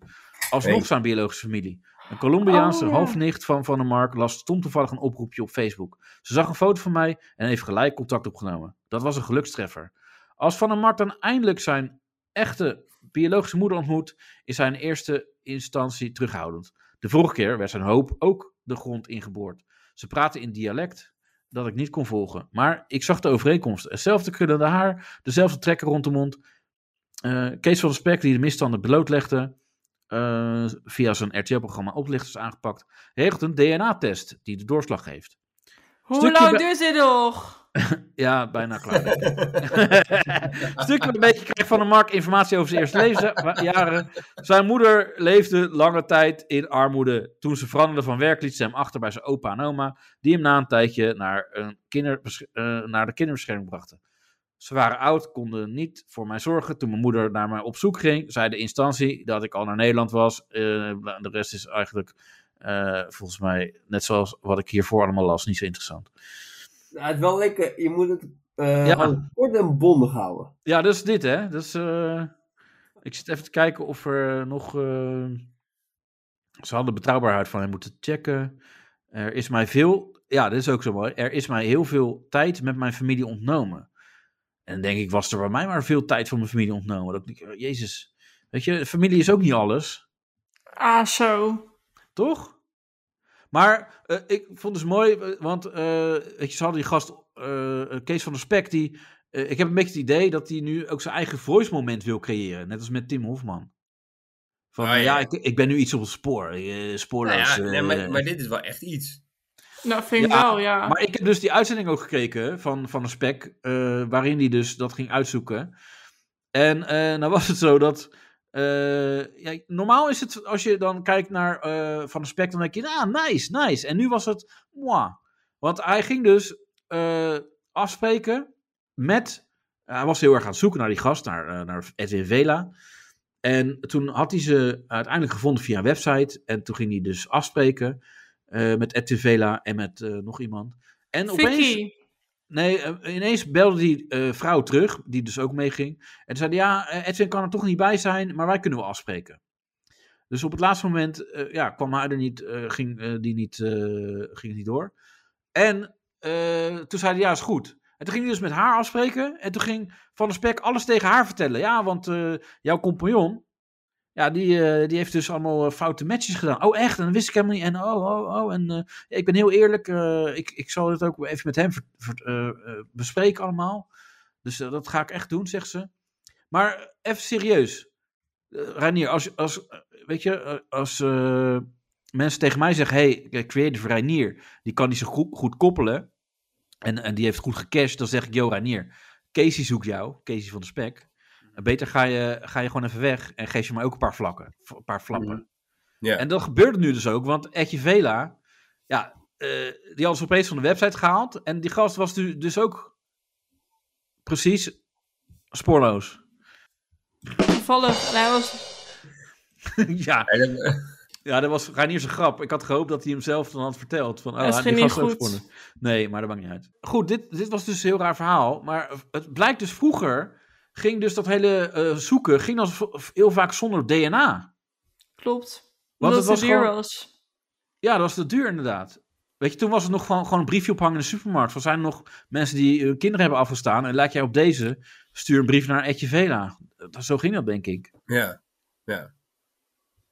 Speaker 2: Alsnog
Speaker 3: Hey.
Speaker 2: zijn biologische familie. Een Colombiaanse
Speaker 4: Oh, ja.
Speaker 2: halfnicht van Van der Mark las stom toevallig een oproepje op Facebook. Ze zag een foto van mij en heeft gelijk contact opgenomen. Dat was een gelukstreffer. Als Van der Mark dan eindelijk zijn echte biologische moeder ontmoet, is hij in eerste instantie terughoudend. De vorige keer werd zijn hoop ook de grond ingeboord. Ze praten in dialect dat ik niet kon volgen, maar ik zag de overeenkomst. Hetzelfde krullende haar, dezelfde trekken rond de mond. Eh, Kees van der Spek, die de misstanden blootlegde, eh, via zijn RTL-programma Oplichters aangepakt, regelt een DNA-test die de doorslag geeft.
Speaker 4: Hoe
Speaker 2: Stukje
Speaker 4: lang
Speaker 2: be-
Speaker 4: duurt dit nog?
Speaker 2: Ja, bijna klaar. Stukje een beetje krijgt van de markt informatie over zijn eerste levensjaren. Zijn moeder leefde lange tijd in armoede. Toen ze veranderde van werk liet ze hem achter bij zijn opa en oma, die hem na een tijdje naar, een kinderbes- eh, naar de kinderbescherming brachten. Ze waren oud, konden niet voor mij zorgen. Toen mijn moeder naar mij op zoek ging, zei de instantie dat ik al naar Nederland was. Eh, de rest is eigenlijk eh, volgens mij, net zoals wat ik hiervoor allemaal las, niet zo interessant.
Speaker 7: Nou, het is wel lekker. Je moet het eh,
Speaker 2: Ja.
Speaker 7: gewoon kort en bondig houden.
Speaker 2: Ja, dat is dit, hè? Dat is, eh, Ik zit even te kijken of er nog. eh, Ze hadden de betrouwbaarheid van hem moeten checken. Er is mij veel. Ja, dit is ook zo mooi. Er is mij heel veel tijd met mijn familie ontnomen. En dan denk ik, was er bij mij maar veel tijd voor mijn familie ontnomen. Dat ik, eh, Jezus. Weet je, familie is ook niet alles,
Speaker 4: Ah, zo.
Speaker 2: toch? Maar eh, ik vond het dus mooi, eh, want eh, weet je, ze hadden die gast, eh, Kees van der Spek, die eh, ik heb een beetje het idee dat hij nu ook zijn eigen voice moment wil creëren. Net als met Tim Hofman. Van,
Speaker 3: Ah,
Speaker 2: eh, ja,
Speaker 3: ja.
Speaker 2: ik, ik ben nu iets op het spoor. eh,
Speaker 3: Nou
Speaker 2: spoorloos.
Speaker 3: ja, nee,
Speaker 2: eh.
Speaker 3: maar, maar dit is wel echt iets.
Speaker 4: Nou, vind ik
Speaker 2: Ja,
Speaker 4: wel, ja.
Speaker 2: Maar ik heb dus die uitzending ook gekeken van, van een spec, eh, waarin hij dus dat ging uitzoeken. En eh nou was het zo dat. eh, ja, normaal is het, als je dan kijkt naar eh, Van de Spek, dan denk je, ah, nice, nice. En nu was het, moi. Want hij ging dus eh, afspreken met, eh, hij was heel erg aan het zoeken naar die gast, naar, eh, naar Edwin Vela. En toen had hij ze uiteindelijk gevonden via een website. En toen ging hij dus afspreken eh, met Edwin Vela en met eh, nog iemand. En opeens,
Speaker 4: Vicky.
Speaker 2: Nee, eh, ineens belde die eh, vrouw terug, die dus ook meeging. En zei, ja, eh, Edwin kan er toch niet bij zijn, maar wij kunnen wel afspreken. Dus op het laatste moment eh, ja, kwam hij er niet, eh, ging, eh, die niet, eh, ging het niet door. En eh, toen zei hij, ja, is goed. En toen ging hij dus met haar afspreken. En toen ging Van der Spek alles tegen haar vertellen. Ja, want eh, jouw compagnon, ja, die, eh, die heeft dus allemaal eh, foute matches gedaan. Oh, echt? En dat wist ik helemaal niet. En oh, oh, oh. En eh, ja, ik ben heel eerlijk. eh, ik, ik zal dit ook even met hem ver- ver- eh, eh, bespreken allemaal. Dus eh, dat ga ik echt doen, zegt ze. Maar eh, even serieus. Eh, Reinier, als, als, eh, weet je, eh, als eh, mensen tegen mij zeggen... hey, eh, creative Reinier, die kan die zo goed, goed koppelen... En, en die heeft goed gecashed, dan zeg ik, yo Reinier... Casey zoekt jou, Casey van de Spek. En beter ga je, ga je gewoon even weg en geef je mij ook een paar vlakken. Een paar flappen.
Speaker 3: Ja.
Speaker 2: En dat gebeurde nu dus ook, want Etje Vela, ja, eh, die hadden ze opeens van de website gehaald. En die gast was nu dus ook precies spoorloos.
Speaker 4: Toevallig. En hij was...
Speaker 2: ja,
Speaker 3: En dat-
Speaker 2: ja, dat was Reinier zijn grap. Ik had gehoopt dat hij hem zelf dan had verteld. Van, oh,
Speaker 4: Dat
Speaker 2: hij-
Speaker 4: ging
Speaker 2: die
Speaker 4: niet
Speaker 2: gast is ook
Speaker 4: goed.
Speaker 2: spoorloos. Nee, maar dat maakt niet uit. Goed, dit, dit was dus een heel raar verhaal. Maar het blijkt dus vroeger, ging dus dat hele eh, zoeken, ging dat v- heel vaak zonder DNA.
Speaker 4: Klopt.
Speaker 2: Want
Speaker 4: Omdat
Speaker 2: het
Speaker 4: het
Speaker 2: was
Speaker 4: te duur
Speaker 2: gewoon-
Speaker 4: was.
Speaker 2: Ja, dat was te duur inderdaad. Weet je, toen was het nog gewoon, gewoon een briefje ophangen in de supermarkt. Van zijn er nog mensen die hun kinderen hebben afgestaan? En lijkt jij op deze, stuur een brief naar Etje Vela. Dat- Zo ging dat, denk ik.
Speaker 3: ja.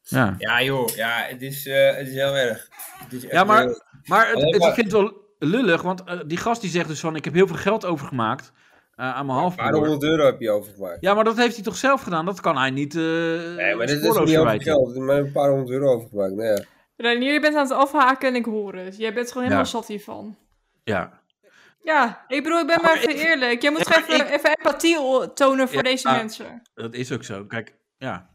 Speaker 2: Ja,
Speaker 3: ja, joh. Ja, het is, eh, het is heel erg. Het is echt
Speaker 2: ja maar,
Speaker 3: heel-
Speaker 2: maar het,
Speaker 3: Alleen
Speaker 2: het, ik
Speaker 3: maar-
Speaker 2: vind het wel lullig, want eh, die gast die zegt dus van... Ik heb heel veel geld overgemaakt eh, aan mijn
Speaker 3: Een paar
Speaker 2: halfbroer.
Speaker 3: honderd euro heb je overgemaakt.
Speaker 2: Ja, maar dat heeft hij toch zelf gedaan? Dat kan hij niet eh
Speaker 3: Nee, maar dit
Speaker 2: spoorloos
Speaker 3: is niet heel veel
Speaker 2: verwijten.
Speaker 3: geld. Maar een paar honderd euro overgemaakt. Nou ja.
Speaker 4: Renier, je bent aan het afhaken en ik hoor het. Jij bent gewoon helemaal
Speaker 2: Ja.
Speaker 4: zat hiervan.
Speaker 2: Ja,
Speaker 4: Ja, ik bedoel, ik ben maar,
Speaker 2: Maar
Speaker 4: even
Speaker 2: ik-
Speaker 4: eerlijk. Jij moet
Speaker 2: Ja, maar
Speaker 4: gewoon even, even empathie o- tonen voor
Speaker 2: Ja.
Speaker 4: deze mensen.
Speaker 2: dat is ook zo. Kijk, ja.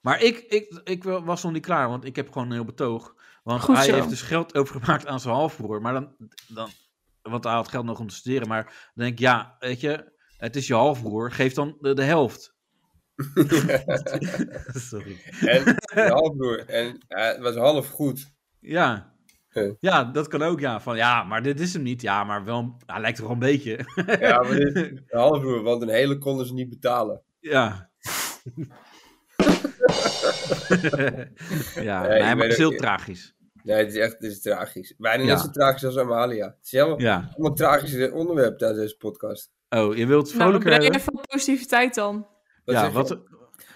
Speaker 2: Maar ik, ik, ik was nog niet klaar, want ik heb gewoon een heel betoog. Want
Speaker 4: Goed
Speaker 2: hij
Speaker 4: zo.
Speaker 2: heeft dus geld overgemaakt aan zijn halfbroer. Maar dan, dan, want hij had geld nog om te studeren. Maar dan denk ik, ja, weet je, het is je halfbroer. Geef dan de, de helft. Sorry.
Speaker 3: En een halfbroer. En eh, het was half goed.
Speaker 2: Ja.
Speaker 3: Oké.
Speaker 2: Ja, dat kan ook, ja. Van, ja, maar dit is hem niet. Ja, maar wel, hij lijkt er wel een beetje.
Speaker 3: Ja, maar dit is een halfbroer, want een hele konden ze niet betalen.
Speaker 2: Ja. ja,
Speaker 3: ik
Speaker 2: nee,
Speaker 3: weet
Speaker 2: maar het is
Speaker 3: ook
Speaker 2: heel
Speaker 3: niet.
Speaker 2: tragisch.
Speaker 3: Nee, het is echt het is tragisch. Bijna
Speaker 2: Ja.
Speaker 3: net zo tragisch als Amalia. Het is helemaal
Speaker 2: Ja.
Speaker 3: allemaal tragische onderwerp tijdens deze podcast.
Speaker 2: Oh, je wilt
Speaker 4: Nou,
Speaker 2: vrolijker
Speaker 4: breng
Speaker 2: hebben?
Speaker 4: even wat positiviteit dan.
Speaker 3: Wat
Speaker 2: ja,
Speaker 3: zeg je?
Speaker 2: wat,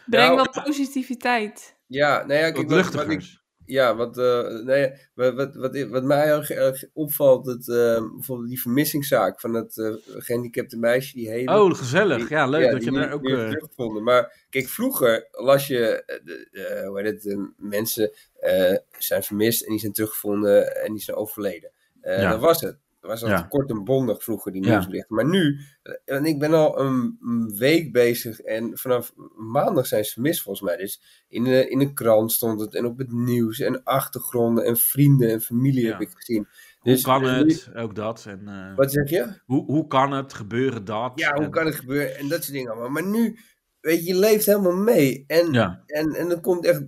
Speaker 4: Breng
Speaker 3: Nou,
Speaker 4: wat positiviteit.
Speaker 3: Ja, nou ja, kijk,
Speaker 2: wat
Speaker 3: wat, wat ik
Speaker 2: luchtigers.
Speaker 3: Ja, wat, eh, nee, wat, wat, wat, wat mij heel erg- erg opvalt, dat, eh, bijvoorbeeld die vermissingszaak van dat eh, gehandicapte meisje, die hele...
Speaker 2: Oh, gezellig. Ja, leuk
Speaker 3: ja,
Speaker 2: dat je
Speaker 3: die
Speaker 2: daar
Speaker 3: niet
Speaker 2: ook...
Speaker 3: meer
Speaker 2: eh,
Speaker 3: terugvonden. Maar kijk, vroeger las je, eh, de- eh, hoe heet het, eh, mensen eh, zijn vermist en die zijn teruggevonden en die zijn overleden. Eh,
Speaker 2: Ja.
Speaker 3: Dat was het. Dat was altijd
Speaker 2: Ja.
Speaker 3: kort en bondig vroeger, die
Speaker 2: Ja.
Speaker 3: nieuwsberichten. Maar nu, eh, en ik ben al een een week bezig en vanaf maandag zijn ze vermist volgens mij. Dus in de, in de krant stond het en op het nieuws en achtergronden en vrienden en familie
Speaker 2: Ja.
Speaker 3: heb ik gezien.
Speaker 2: hoe
Speaker 3: Dus-
Speaker 2: kan het? Ook dat. En, eh,
Speaker 3: Wat zeg je?
Speaker 2: hoe, hoe kan het gebeuren dat?
Speaker 3: Ja, hoe
Speaker 2: En-
Speaker 3: kan het gebeuren? En dat soort dingen allemaal. Maar nu, weet je, je leeft helemaal mee. En,
Speaker 2: Ja.
Speaker 3: en, en dan komt echt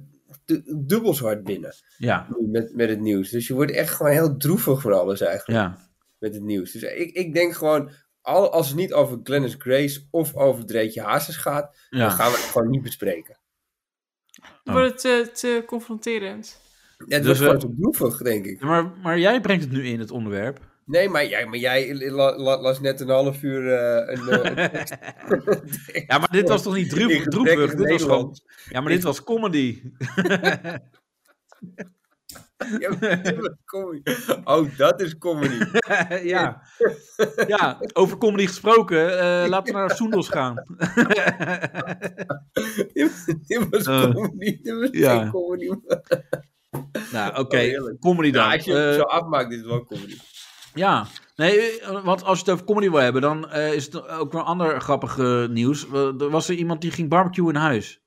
Speaker 3: du- dubbel zo hard binnen
Speaker 2: Ja,
Speaker 3: nu met, met het nieuws. Dus je wordt echt gewoon heel droevig van alles eigenlijk
Speaker 2: ja.
Speaker 3: met het nieuws. Dus ik, ik denk gewoon, al, als het niet over Glennis Grace of over Dreetje Hazes gaat, dan
Speaker 2: ja.
Speaker 3: gaan we het gewoon niet bespreken.
Speaker 2: Oh.
Speaker 4: Wordt het te, te confronterend.
Speaker 3: Ja,
Speaker 2: Dus,
Speaker 3: het wordt
Speaker 2: eh,
Speaker 3: gewoon te droevig, denk ik.
Speaker 2: Maar, maar jij brengt het nu in, het onderwerp.
Speaker 3: Nee, maar jij, maar jij la- la- las net een half uur eh, een... eh, een-
Speaker 2: Ja, maar dit was toch niet droevig?
Speaker 3: in
Speaker 2: droevig?
Speaker 3: gebrekkig
Speaker 2: Dit was gewoon,
Speaker 3: Nederlands.
Speaker 2: ja, maar dit was comedy.
Speaker 3: Ja, maar dit was comedy. Oh, dat is comedy.
Speaker 2: ja. ja, over comedy gesproken. eh, laten we naar Soendos gaan.
Speaker 3: Dit was
Speaker 2: Eh,
Speaker 3: comedy. Dit was
Speaker 2: ja.
Speaker 3: geen comedy.
Speaker 2: nou, oké.
Speaker 3: Oh, heerlijk.
Speaker 2: comedy dan.
Speaker 3: Ja, als je het
Speaker 2: Eh,
Speaker 3: zo afmaakt, dit is wel comedy.
Speaker 2: Ja, nee, eh, want als je het over comedy wil hebben, dan eh, is het ook wel ander grappig eh, nieuws. Eh, er was er iemand die ging barbecue in huis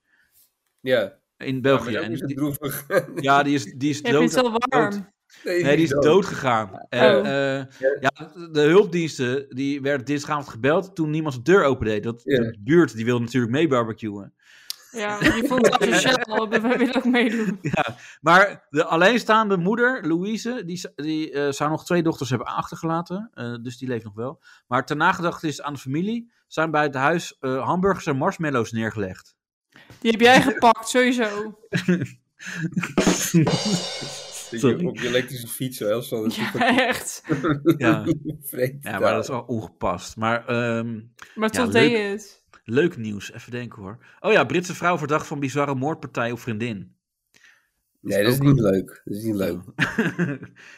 Speaker 3: Ja,
Speaker 2: in
Speaker 3: maar
Speaker 2: België.
Speaker 3: dat
Speaker 2: en
Speaker 3: is het
Speaker 2: die,
Speaker 3: droevig.
Speaker 2: ja, die is, die is
Speaker 4: Je vindt
Speaker 2: dood.
Speaker 4: het wel warm.
Speaker 2: Nee, die is dood gegaan. En,
Speaker 4: Oh.
Speaker 2: eh, ja, de hulpdiensten die werden dinsdagavond gebeld toen niemand zijn deur opendeed. Dat,
Speaker 3: Ja.
Speaker 2: De buurt die wilde natuurlijk mee barbecuen.
Speaker 4: Ja, die vond het asociaal. We willen ook meedoen.
Speaker 2: Maar de alleenstaande moeder, Louise, die, z- die eh, zou nog twee dochters hebben achtergelaten. eh, dus die leeft nog wel. Maar ter nagedachtenis aan de familie zijn bij het huis eh, hamburgers en marshmallows neergelegd.
Speaker 4: Die heb jij gepakt, sowieso.
Speaker 3: Dat
Speaker 2: Sorry.
Speaker 3: je op je elektrische fiets zo heel snel
Speaker 4: Ja, echt.
Speaker 2: Ja,
Speaker 3: vreemd.
Speaker 2: ja maar dat is wel ongepast. Maar ehm,
Speaker 4: Maar
Speaker 2: Ja, leuk.
Speaker 4: tot deed je het.
Speaker 2: leuk nieuws, even denken hoor. Oh ja, Britse vrouw verdacht van bizarre moordpartij op vriendin.
Speaker 3: Nee, dat is niet leuk. Dat is niet leuk.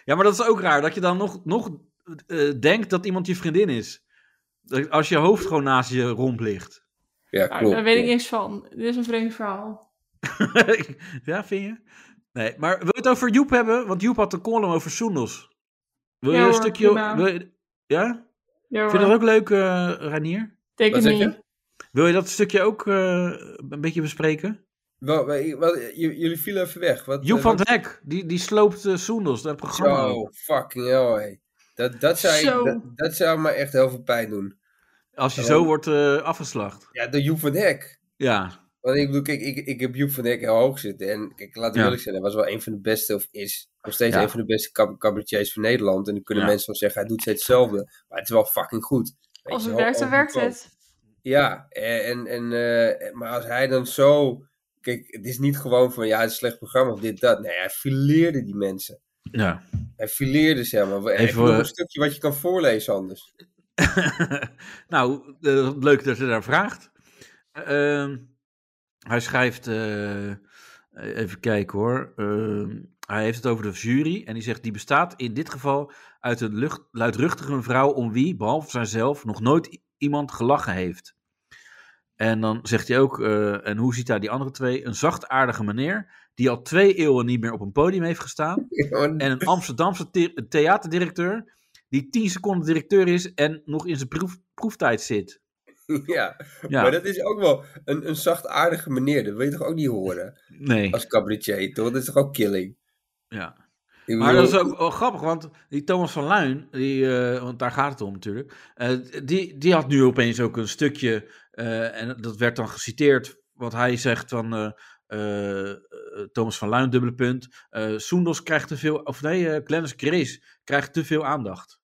Speaker 2: ja, maar dat is ook raar. Dat je dan nog, nog eh, denkt dat iemand je vriendin is. Dat- Als je hoofd gewoon naast je romp ligt.
Speaker 3: Ja,
Speaker 4: Nou,
Speaker 3: klopt.
Speaker 4: daar weet ik niks van. Dit is een vreemd verhaal.
Speaker 2: ja, vind je? Nee, maar wil je het over Joep hebben? Want Joep had een column over Soendels. Wil je
Speaker 4: Ja
Speaker 2: een
Speaker 4: hoor,
Speaker 2: stukje...
Speaker 4: prima.
Speaker 2: wil je- ja?
Speaker 4: Ja,
Speaker 2: Vind je
Speaker 4: hoor.
Speaker 2: dat ook leuk, eh Ranier?
Speaker 4: Denk
Speaker 3: Wat
Speaker 4: het
Speaker 3: zeg je?
Speaker 4: niet.
Speaker 2: Wil je dat stukje ook eh, een beetje bespreken?
Speaker 3: Wel, wel, ik- wel, j- jullie vielen even weg. Wat,
Speaker 2: Joep
Speaker 3: eh,
Speaker 2: van
Speaker 3: wat-
Speaker 2: het Hek, die, die sloopt eh, Soendels, dat programma.
Speaker 3: Zo, fucking hell, hé. Dat, dat,
Speaker 4: Zo.
Speaker 3: zou, dat, dat zou me echt heel veel pijn doen.
Speaker 2: Als je
Speaker 3: Oh.
Speaker 2: zo wordt eh, afgeslacht.
Speaker 3: Ja, de Joep van het Hek.
Speaker 2: Ja,
Speaker 3: Want ik bedoel, kijk, ik, ik heb Joep van Hek heel hoog zitten. En kijk, laten we
Speaker 2: Ja.
Speaker 3: eerlijk zijn, hij was wel een van de beste, of is nog steeds
Speaker 2: Ja.
Speaker 3: een van de beste cab- cabaretiers van Nederland. En dan kunnen
Speaker 2: Ja.
Speaker 3: mensen wel zeggen, hij doet steeds hetzelfde. Maar het is wel fucking goed. Weet
Speaker 4: Als
Speaker 3: je
Speaker 4: het
Speaker 3: wel,
Speaker 4: werkt, dan
Speaker 3: over
Speaker 4: werkt
Speaker 3: de top.
Speaker 4: het.
Speaker 3: Ja, en, en, eh, maar als hij dan zo... Kijk, het is niet gewoon van, ja, het is een slecht programma of dit, dat. Nee, hij fileerde die mensen.
Speaker 2: ja.
Speaker 3: Hij fileerde ze helemaal. Even,
Speaker 2: Even, eh,
Speaker 3: een stukje wat je kan voorlezen anders.
Speaker 2: nou, eh, leuk dat je daar vraagt. Ehm, hij schrijft, eh, even kijken hoor. Ehm, hij heeft het over de jury en die zegt: die bestaat in dit geval uit een lucht, luidruchtige vrouw om wie, behalve zijzelf, nog nooit i- iemand gelachen heeft. En dan zegt hij ook, eh, en hoe ziet hij die andere twee? Een zachtaardige meneer die al twee eeuwen niet meer op een podium heeft gestaan en een Amsterdamse the- theaterdirecteur die 10 seconden directeur is en nog in zijn proef- proeftijd zit.
Speaker 3: ja,
Speaker 2: Ja,
Speaker 3: maar dat is ook wel een, een zachtaardige meneer. Dat wil je toch ook niet horen
Speaker 2: nee.
Speaker 3: als cabaretier, toch? Dat is toch ook killing?
Speaker 2: Ja.
Speaker 3: Ik
Speaker 2: Maar dat
Speaker 3: bedoel-
Speaker 2: is ook wel grappig, want die Thomas van Luin, die, eh, want daar gaat het om natuurlijk, eh, die, die had nu opeens ook een stukje, eh, en dat werd dan geciteerd, wa- wat hij zegt van eh, eh, Thomas van Luin, dubbele punt. Eh Soendos krijgt te veel, of nee, eh Glennis Grace krijgt te veel aandacht.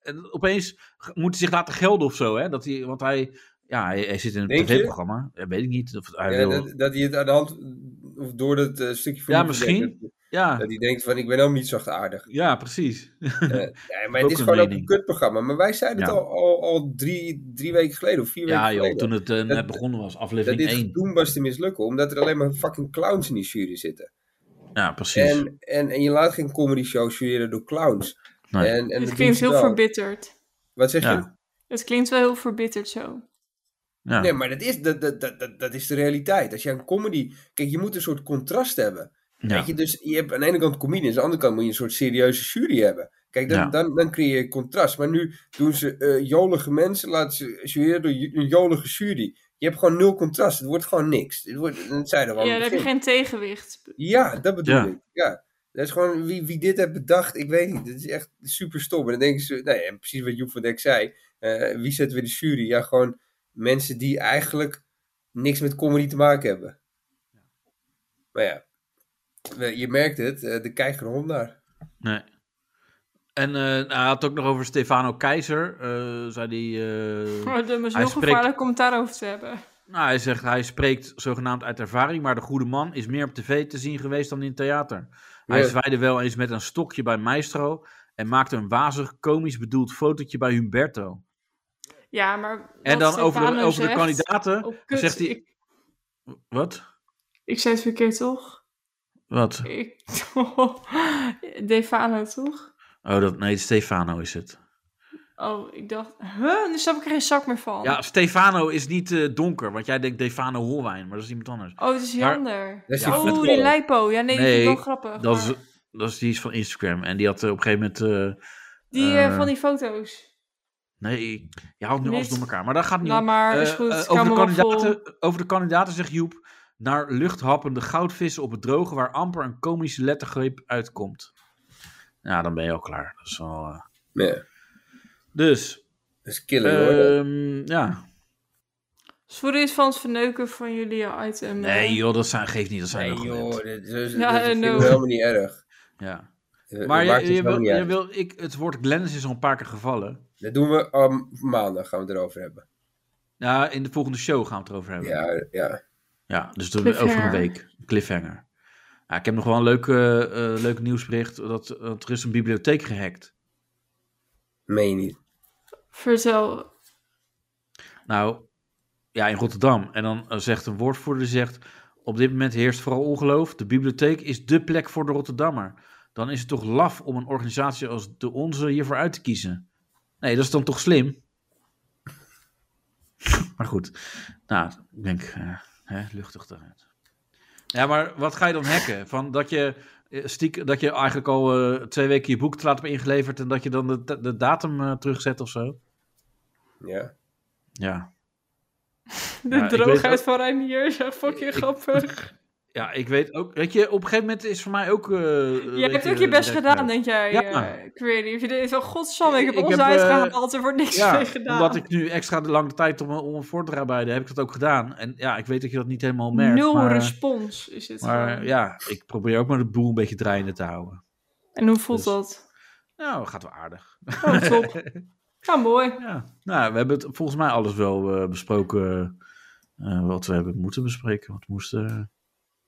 Speaker 2: En opeens g- moet hij zich laten gelden of zo, hè? Dat hij, want hij, ja, hij, hij zit in een
Speaker 3: Denk je?
Speaker 2: tv-programma. Ja, weet ik niet. Of hij
Speaker 3: Ja,
Speaker 2: wil,
Speaker 3: eh, dat, dat hij het aan de hand, of door dat eh, stukje van
Speaker 2: Ja,
Speaker 3: moeten
Speaker 2: misschien.
Speaker 3: denken,
Speaker 2: ja,
Speaker 3: dat hij denkt van, ik ben helemaal niet zachtaardig.
Speaker 2: ja, precies.
Speaker 3: Eh, ja, maar
Speaker 2: Ook
Speaker 3: het is
Speaker 2: een
Speaker 3: gewoon ook een
Speaker 2: mening.
Speaker 3: kutprogramma. Maar wij zeiden het
Speaker 2: Ja.
Speaker 3: al, al, al drie, drie weken geleden of
Speaker 2: Ja,
Speaker 3: vier weken
Speaker 2: joh,
Speaker 3: geleden.
Speaker 2: toen het eh, net
Speaker 3: Dat-
Speaker 2: begonnen was,
Speaker 3: dat
Speaker 2: aflevering
Speaker 3: dit
Speaker 2: 1.
Speaker 3: gedoemd was te mislukken, omdat er alleen maar fucking clowns in die jury zitten.
Speaker 2: Ja, precies.
Speaker 3: En, en, en je laat geen comedy show jureren door clowns.
Speaker 2: Nee.
Speaker 3: En, en
Speaker 4: Het
Speaker 3: dat doen
Speaker 4: klinkt
Speaker 3: ze
Speaker 4: heel
Speaker 3: wel.
Speaker 4: verbitterd.
Speaker 3: Wat zeg
Speaker 2: Ja.
Speaker 3: je?
Speaker 4: Het klinkt wel heel verbitterd zo.
Speaker 2: ja.
Speaker 3: Nee, maar dat is, dat, dat, dat, dat, dat is de realiteit. Als je een comedy... Kijk, je moet een soort contrast hebben.
Speaker 2: ja.
Speaker 3: Weet je, dus je hebt aan de ene kant comedians, aan de andere kant moet je een soort serieuze jury hebben. Kijk, dan,
Speaker 2: Ja.
Speaker 3: dan, dan creëer je contrast. Maar nu doen ze eh, jolige mensen, laten ze jureren door ju- een jolige jury. Je hebt gewoon nul contrast. Het wordt gewoon niks. Het wordt, dat zeiden we al
Speaker 4: Ja,
Speaker 3: aan
Speaker 4: dan
Speaker 3: het
Speaker 4: heb je
Speaker 3: begin.
Speaker 4: geen tegenwicht.
Speaker 3: Ja, dat bedoel
Speaker 2: Ja.
Speaker 3: ik. Ja. Dat is gewoon wie, wie dit heeft bedacht, ik weet niet. Dat is echt super stom. En dan denken ze, nou ja, en precies wat Joep van Dijk zei. eh, wie zet weer de jury? Ja, gewoon mensen die eigenlijk niks met comedy te maken hebben. Maar ja, we- je merkt het, eh, er kijkt geen hond naar.
Speaker 2: Nee. En eh, hij had het ook nog over Stefano Keizer. eh, zei die, eh,
Speaker 4: Maar Oh, dat is
Speaker 2: Hij
Speaker 4: heel
Speaker 2: spreekt-
Speaker 4: gevaarlijk om het daarover te hebben.
Speaker 2: nou, hij zegt hij spreekt zogenaamd uit ervaring, maar de goede man is meer op tv te zien geweest dan in het theater. Hij
Speaker 3: Ja.
Speaker 2: zwaaide wel eens met een stokje bij Maestro en maakte een wazig, komisch bedoeld fotootje bij Humberto.
Speaker 4: Ja, maar
Speaker 2: en
Speaker 4: wat
Speaker 2: dan over de,
Speaker 4: Stefano
Speaker 2: over de
Speaker 4: zegt-
Speaker 2: kandidaten
Speaker 4: Oh,
Speaker 2: dan
Speaker 4: kut,
Speaker 2: zegt hij...
Speaker 4: ik,
Speaker 2: Wat?
Speaker 4: ik zei het verkeerd, toch?
Speaker 2: Wat?
Speaker 4: Ik... Defano, toch?
Speaker 2: Oh, dat, nee, Stefano is het.
Speaker 4: Oh, ik dacht... Huh? Nu snap ik er geen zak meer van.
Speaker 2: Ja, Stefano is niet eh, donker, want jij denkt Defano Holwijn, maar dat is iemand anders.
Speaker 4: Oh, het is
Speaker 2: Maar-
Speaker 4: Jander.
Speaker 3: Dat is die
Speaker 4: Oh,
Speaker 3: voetballer.
Speaker 4: die Lipo. Ja, nee, die vind ik
Speaker 2: Nee,
Speaker 4: wel grappig.
Speaker 2: Dat
Speaker 4: maar-
Speaker 2: is, dat is, die is van Instagram. En die had eh, op een gegeven moment. eh,
Speaker 4: Die eh,
Speaker 2: eh,
Speaker 4: van die foto's.
Speaker 2: nee, je houdt nu alles
Speaker 4: Niet.
Speaker 2: door elkaar. Maar dat gaat niet.
Speaker 4: Nou,
Speaker 2: om.
Speaker 4: maar is
Speaker 2: Eh,
Speaker 4: goed.
Speaker 2: eh,
Speaker 4: ik
Speaker 2: over,
Speaker 4: hou
Speaker 2: de
Speaker 4: me wel vol.
Speaker 2: kandidaten, over de kandidaten zegt Joep. Naar luchthappende goudvissen op het droge, waar amper een komische lettergreep uitkomt. Ja, dan ben je al klaar. Dat is wel, eh.
Speaker 3: Nee, dat
Speaker 2: Dus,
Speaker 3: is killing hoor.
Speaker 2: ehm, ja.
Speaker 4: Sorry is van het verneuken van jullie item. eh.
Speaker 2: Nee, joh, dat zijn, geeft niet. Dat zijn
Speaker 3: Nee
Speaker 2: nog
Speaker 3: joh,
Speaker 2: net.
Speaker 3: dat, is- dat, is-
Speaker 4: Ja,
Speaker 3: dat
Speaker 4: eh,
Speaker 3: vind ik
Speaker 4: no.
Speaker 3: helemaal niet erg.
Speaker 2: Ja.
Speaker 3: Eh,
Speaker 2: Maar
Speaker 3: dat
Speaker 2: je,
Speaker 3: maakt het
Speaker 2: je,
Speaker 3: helemaal
Speaker 2: wil,
Speaker 3: niet
Speaker 2: je
Speaker 3: uit.
Speaker 2: wil, ik, het woord Glennis is al een paar keer gevallen.
Speaker 3: Dat doen we um, maandag, gaan we het erover hebben.
Speaker 2: Ja, in de volgende show gaan we het erover hebben.
Speaker 3: Ja, ja.
Speaker 2: Ja, dus door- over een
Speaker 4: Cliffhanger.
Speaker 2: week. Cliffhanger. Ja, ik heb nog wel een leuk, eh, eh, leuk nieuwsbericht. Dat, dat er is een bibliotheek gehackt.
Speaker 3: meen je niet.
Speaker 4: Vertel.
Speaker 2: Nou, ja, in Rotterdam. En dan eh, zegt een woordvoerder, die zegt... Op dit moment heerst vooral ongeloof. De bibliotheek is dé plek voor de Rotterdammer. Dan is het toch laf om een organisatie als de onze hiervoor uit te kiezen. Nee, dat is dan toch slim? maar goed. Nou, ik denk, eh, hè, luchtig daaruit. Ja, maar wat ga je dan hacken? Van dat je eh, stiek, dat je eigenlijk al eh, twee weken je boek te laat hebt ingeleverd... en dat je dan de, de datum eh, terugzet of zo?
Speaker 3: Ja.
Speaker 2: Ja,
Speaker 4: De
Speaker 2: Ja, ik weet
Speaker 4: droogheid
Speaker 2: ook-
Speaker 4: van Reinier zo fucking
Speaker 2: Ik-
Speaker 4: grappig.
Speaker 2: Ja, ik weet ook. Weet je, op een gegeven moment is voor mij ook. eh,
Speaker 4: Jij
Speaker 2: weet
Speaker 4: hebt ook je best
Speaker 2: eh,
Speaker 4: gedaan, denk jij,
Speaker 2: Ja.
Speaker 4: eh, Query. Je denkt van, godsamme, ik heb
Speaker 2: Ik
Speaker 4: ons
Speaker 2: heb, eh,
Speaker 4: uitgehaald. Er wordt niks
Speaker 2: Ja,
Speaker 4: mee gedaan.
Speaker 2: omdat ik nu extra de lange tijd om, om een voor te bereiden, heb ik dat ook gedaan. En ja, ik weet dat je dat niet helemaal merkt.
Speaker 4: Nul
Speaker 2: maar,
Speaker 4: respons is het
Speaker 2: Maar
Speaker 4: gewoon.
Speaker 2: ja, ik probeer ook maar de boel een beetje draaiende te houden.
Speaker 4: En hoe voelt
Speaker 2: Dus-
Speaker 4: dat?
Speaker 2: Nou, gaat wel aardig.
Speaker 4: Oh, top. ja, mooi.
Speaker 2: Ja. Nou, we hebben het volgens mij alles wel eh, besproken. eh, wat we hebben moeten bespreken. Wat we moesten.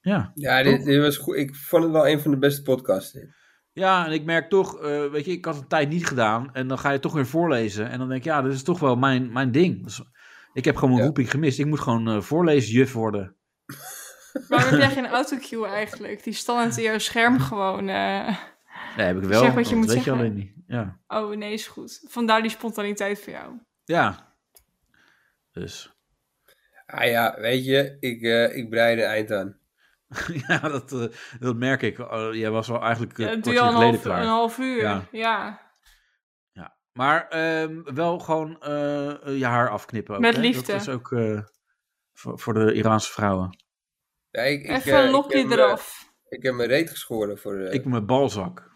Speaker 2: ja.
Speaker 3: Ja, dit, dit was goed. Ik vond het wel een van de beste podcasts. dit.
Speaker 2: Ja, en ik merk toch, eh, weet je, ik had het een tijd niet gedaan. En dan ga je het toch weer voorlezen. En dan denk ik, ja, dit is toch wel mijn, mijn ding. Dus ik heb gewoon mijn
Speaker 3: Ja.
Speaker 2: roeping gemist. Ik moet gewoon eh, voorleesjuf worden.
Speaker 4: Waarom heb jij geen autocue eigenlijk? Die standaard in jouw scherm gewoon... eh,
Speaker 2: Nee, heb ik wel.
Speaker 4: Zeg wat je
Speaker 2: dat
Speaker 4: moet
Speaker 2: weet
Speaker 4: zeggen.
Speaker 2: je alleen niet. Ja.
Speaker 4: Oh, nee, is goed. Vandaar die spontaniteit voor jou.
Speaker 2: ja. Dus.
Speaker 3: Ah ja, weet je, ik, eh, ik breid een eind aan.
Speaker 2: ja, dat, eh, dat merk ik. Eh, jij was wel eigenlijk eh,
Speaker 4: Ja,
Speaker 2: een
Speaker 4: dat doe je
Speaker 2: kwartier
Speaker 4: al een
Speaker 2: geleden
Speaker 4: half,
Speaker 2: klaar.
Speaker 4: een half uur.
Speaker 2: Ja.
Speaker 4: Ja.
Speaker 2: Ja. Maar ehm, wel gewoon eh, je haar afknippen. ook,
Speaker 4: Met
Speaker 2: hè?
Speaker 4: liefde.
Speaker 2: Dat is ook eh, voor, voor de Iraanse vrouwen.
Speaker 3: Ja, ik, ik,
Speaker 4: Even
Speaker 3: eh,
Speaker 4: een
Speaker 3: ik
Speaker 4: lokje
Speaker 3: heb me-
Speaker 4: eraf.
Speaker 3: ik heb mijn reet geschoren voor... eh,
Speaker 2: Ik mijn balzak.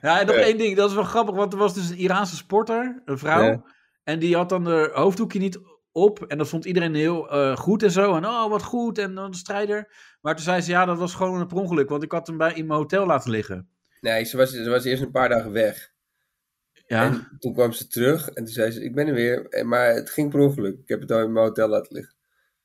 Speaker 2: ja, en nog één ding, dat is wel grappig, want er was dus een Iraanse sporter, een vrouw,
Speaker 3: Ja.
Speaker 2: en die had dan haar hoofddoekje niet op. En dat vond iedereen heel eh, goed en zo. En oh, wat goed. En dan een strijder. Maar toen zei ze, ja, dat was gewoon een per ongeluk. Want ik had hem bij, in mijn hotel laten liggen.
Speaker 3: Nee, ze was, ze was eerst een paar dagen weg.
Speaker 2: Ja.
Speaker 3: En toen kwam ze terug en toen zei ze, ik ben er weer. En- Maar het ging per ongeluk. Ik heb het al in mijn hotel laten liggen.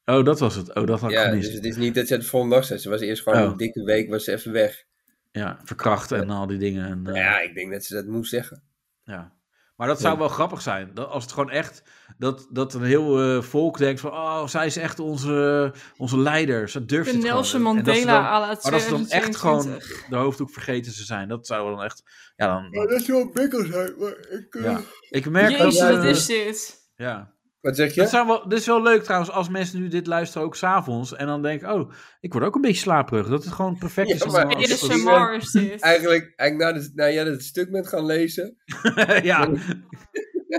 Speaker 2: Oh, dat was het. Oh, dat had ik
Speaker 3: ja,
Speaker 2: gemist.
Speaker 3: dus het is niet dat ze het volgende dag zei. Ze was eerst gewoon
Speaker 2: Oh.
Speaker 3: een dikke week, was ze even weg. Nou
Speaker 2: Ja, verkracht en al die dingen. En, eh,
Speaker 3: Ja, ik denk dat ze dat moest zeggen.
Speaker 2: Ja. Maar dat zou wel grappig zijn. Dat, als het gewoon echt. Dat, dat een heel eh, volk denkt van. Oh, zij is echt onze, onze leider. Ze durft
Speaker 4: De
Speaker 2: het gewoon.
Speaker 4: Nelson
Speaker 2: En dat ze
Speaker 4: Mandela
Speaker 2: dan-
Speaker 4: à la
Speaker 2: Maar dat ze dan echt gewoon
Speaker 4: 2022.
Speaker 2: de hoofddoek vergeten ze zijn. Dat zou dan echt. Ja, dan.
Speaker 3: dat zou een bikkel zijn, maar ik...
Speaker 2: ja. Ik merk
Speaker 4: Jezus,
Speaker 2: dat.
Speaker 4: wat
Speaker 2: eh,
Speaker 4: is dit?
Speaker 2: ja.
Speaker 3: Wat zeg
Speaker 2: Het
Speaker 3: je?
Speaker 2: zou wel, dit is wel leuk trouwens als mensen nu dit luisteren ook s'avonds. En dan denken, oh, ik word ook een beetje slaperig. Dat het gewoon perfect
Speaker 3: Ja,
Speaker 2: is. om
Speaker 3: maar-
Speaker 2: dan-
Speaker 4: Dit is
Speaker 3: sorry.
Speaker 4: Samar, is dit.
Speaker 3: Eigenlijk, eigenlijk nadat nou, jij dat het stuk bent gaan lezen,
Speaker 2: ja.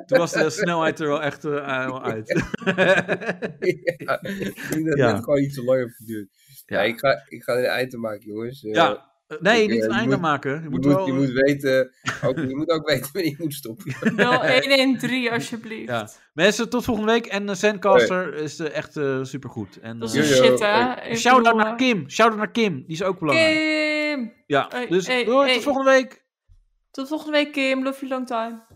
Speaker 2: Toen was de snelheid er wel echt eh, uit.
Speaker 3: ja, ik denk dat
Speaker 2: Ja.
Speaker 3: het gewoon iets te lang heeft geduurd. Ja.
Speaker 2: Ja.
Speaker 3: ik, ga, ik ga er een eind aan maken, jongens. Eh,
Speaker 2: Ja. Nee,
Speaker 3: Ik, eh,
Speaker 2: niet een
Speaker 3: je
Speaker 2: einde
Speaker 3: moet-
Speaker 2: maken. Je
Speaker 3: je,
Speaker 2: moet
Speaker 3: moet,
Speaker 2: wel... eh,
Speaker 3: je, moet weten, ook, je moet ook weten wanneer je moet stoppen.
Speaker 4: Wel 1 en 3, alsjeblieft.
Speaker 2: Ja. Mensen, tot volgende week. En eh, Sandcaster is eh, echt eh, supergoed. En
Speaker 4: Dat is dus
Speaker 2: eh,
Speaker 4: een
Speaker 3: Jojo,
Speaker 4: shit, hè?
Speaker 3: hey.
Speaker 4: Ik
Speaker 2: shout-out
Speaker 4: bedoel,
Speaker 2: naar
Speaker 4: eh,
Speaker 2: Kim. Shout-out naar Kim. Die is ook belangrijk.
Speaker 4: Kim!
Speaker 2: Ja,
Speaker 4: Hey,
Speaker 2: dus
Speaker 4: hey,
Speaker 2: doei,
Speaker 4: hey.
Speaker 2: tot volgende week.
Speaker 4: Tot volgende week, Kim. Love you long time.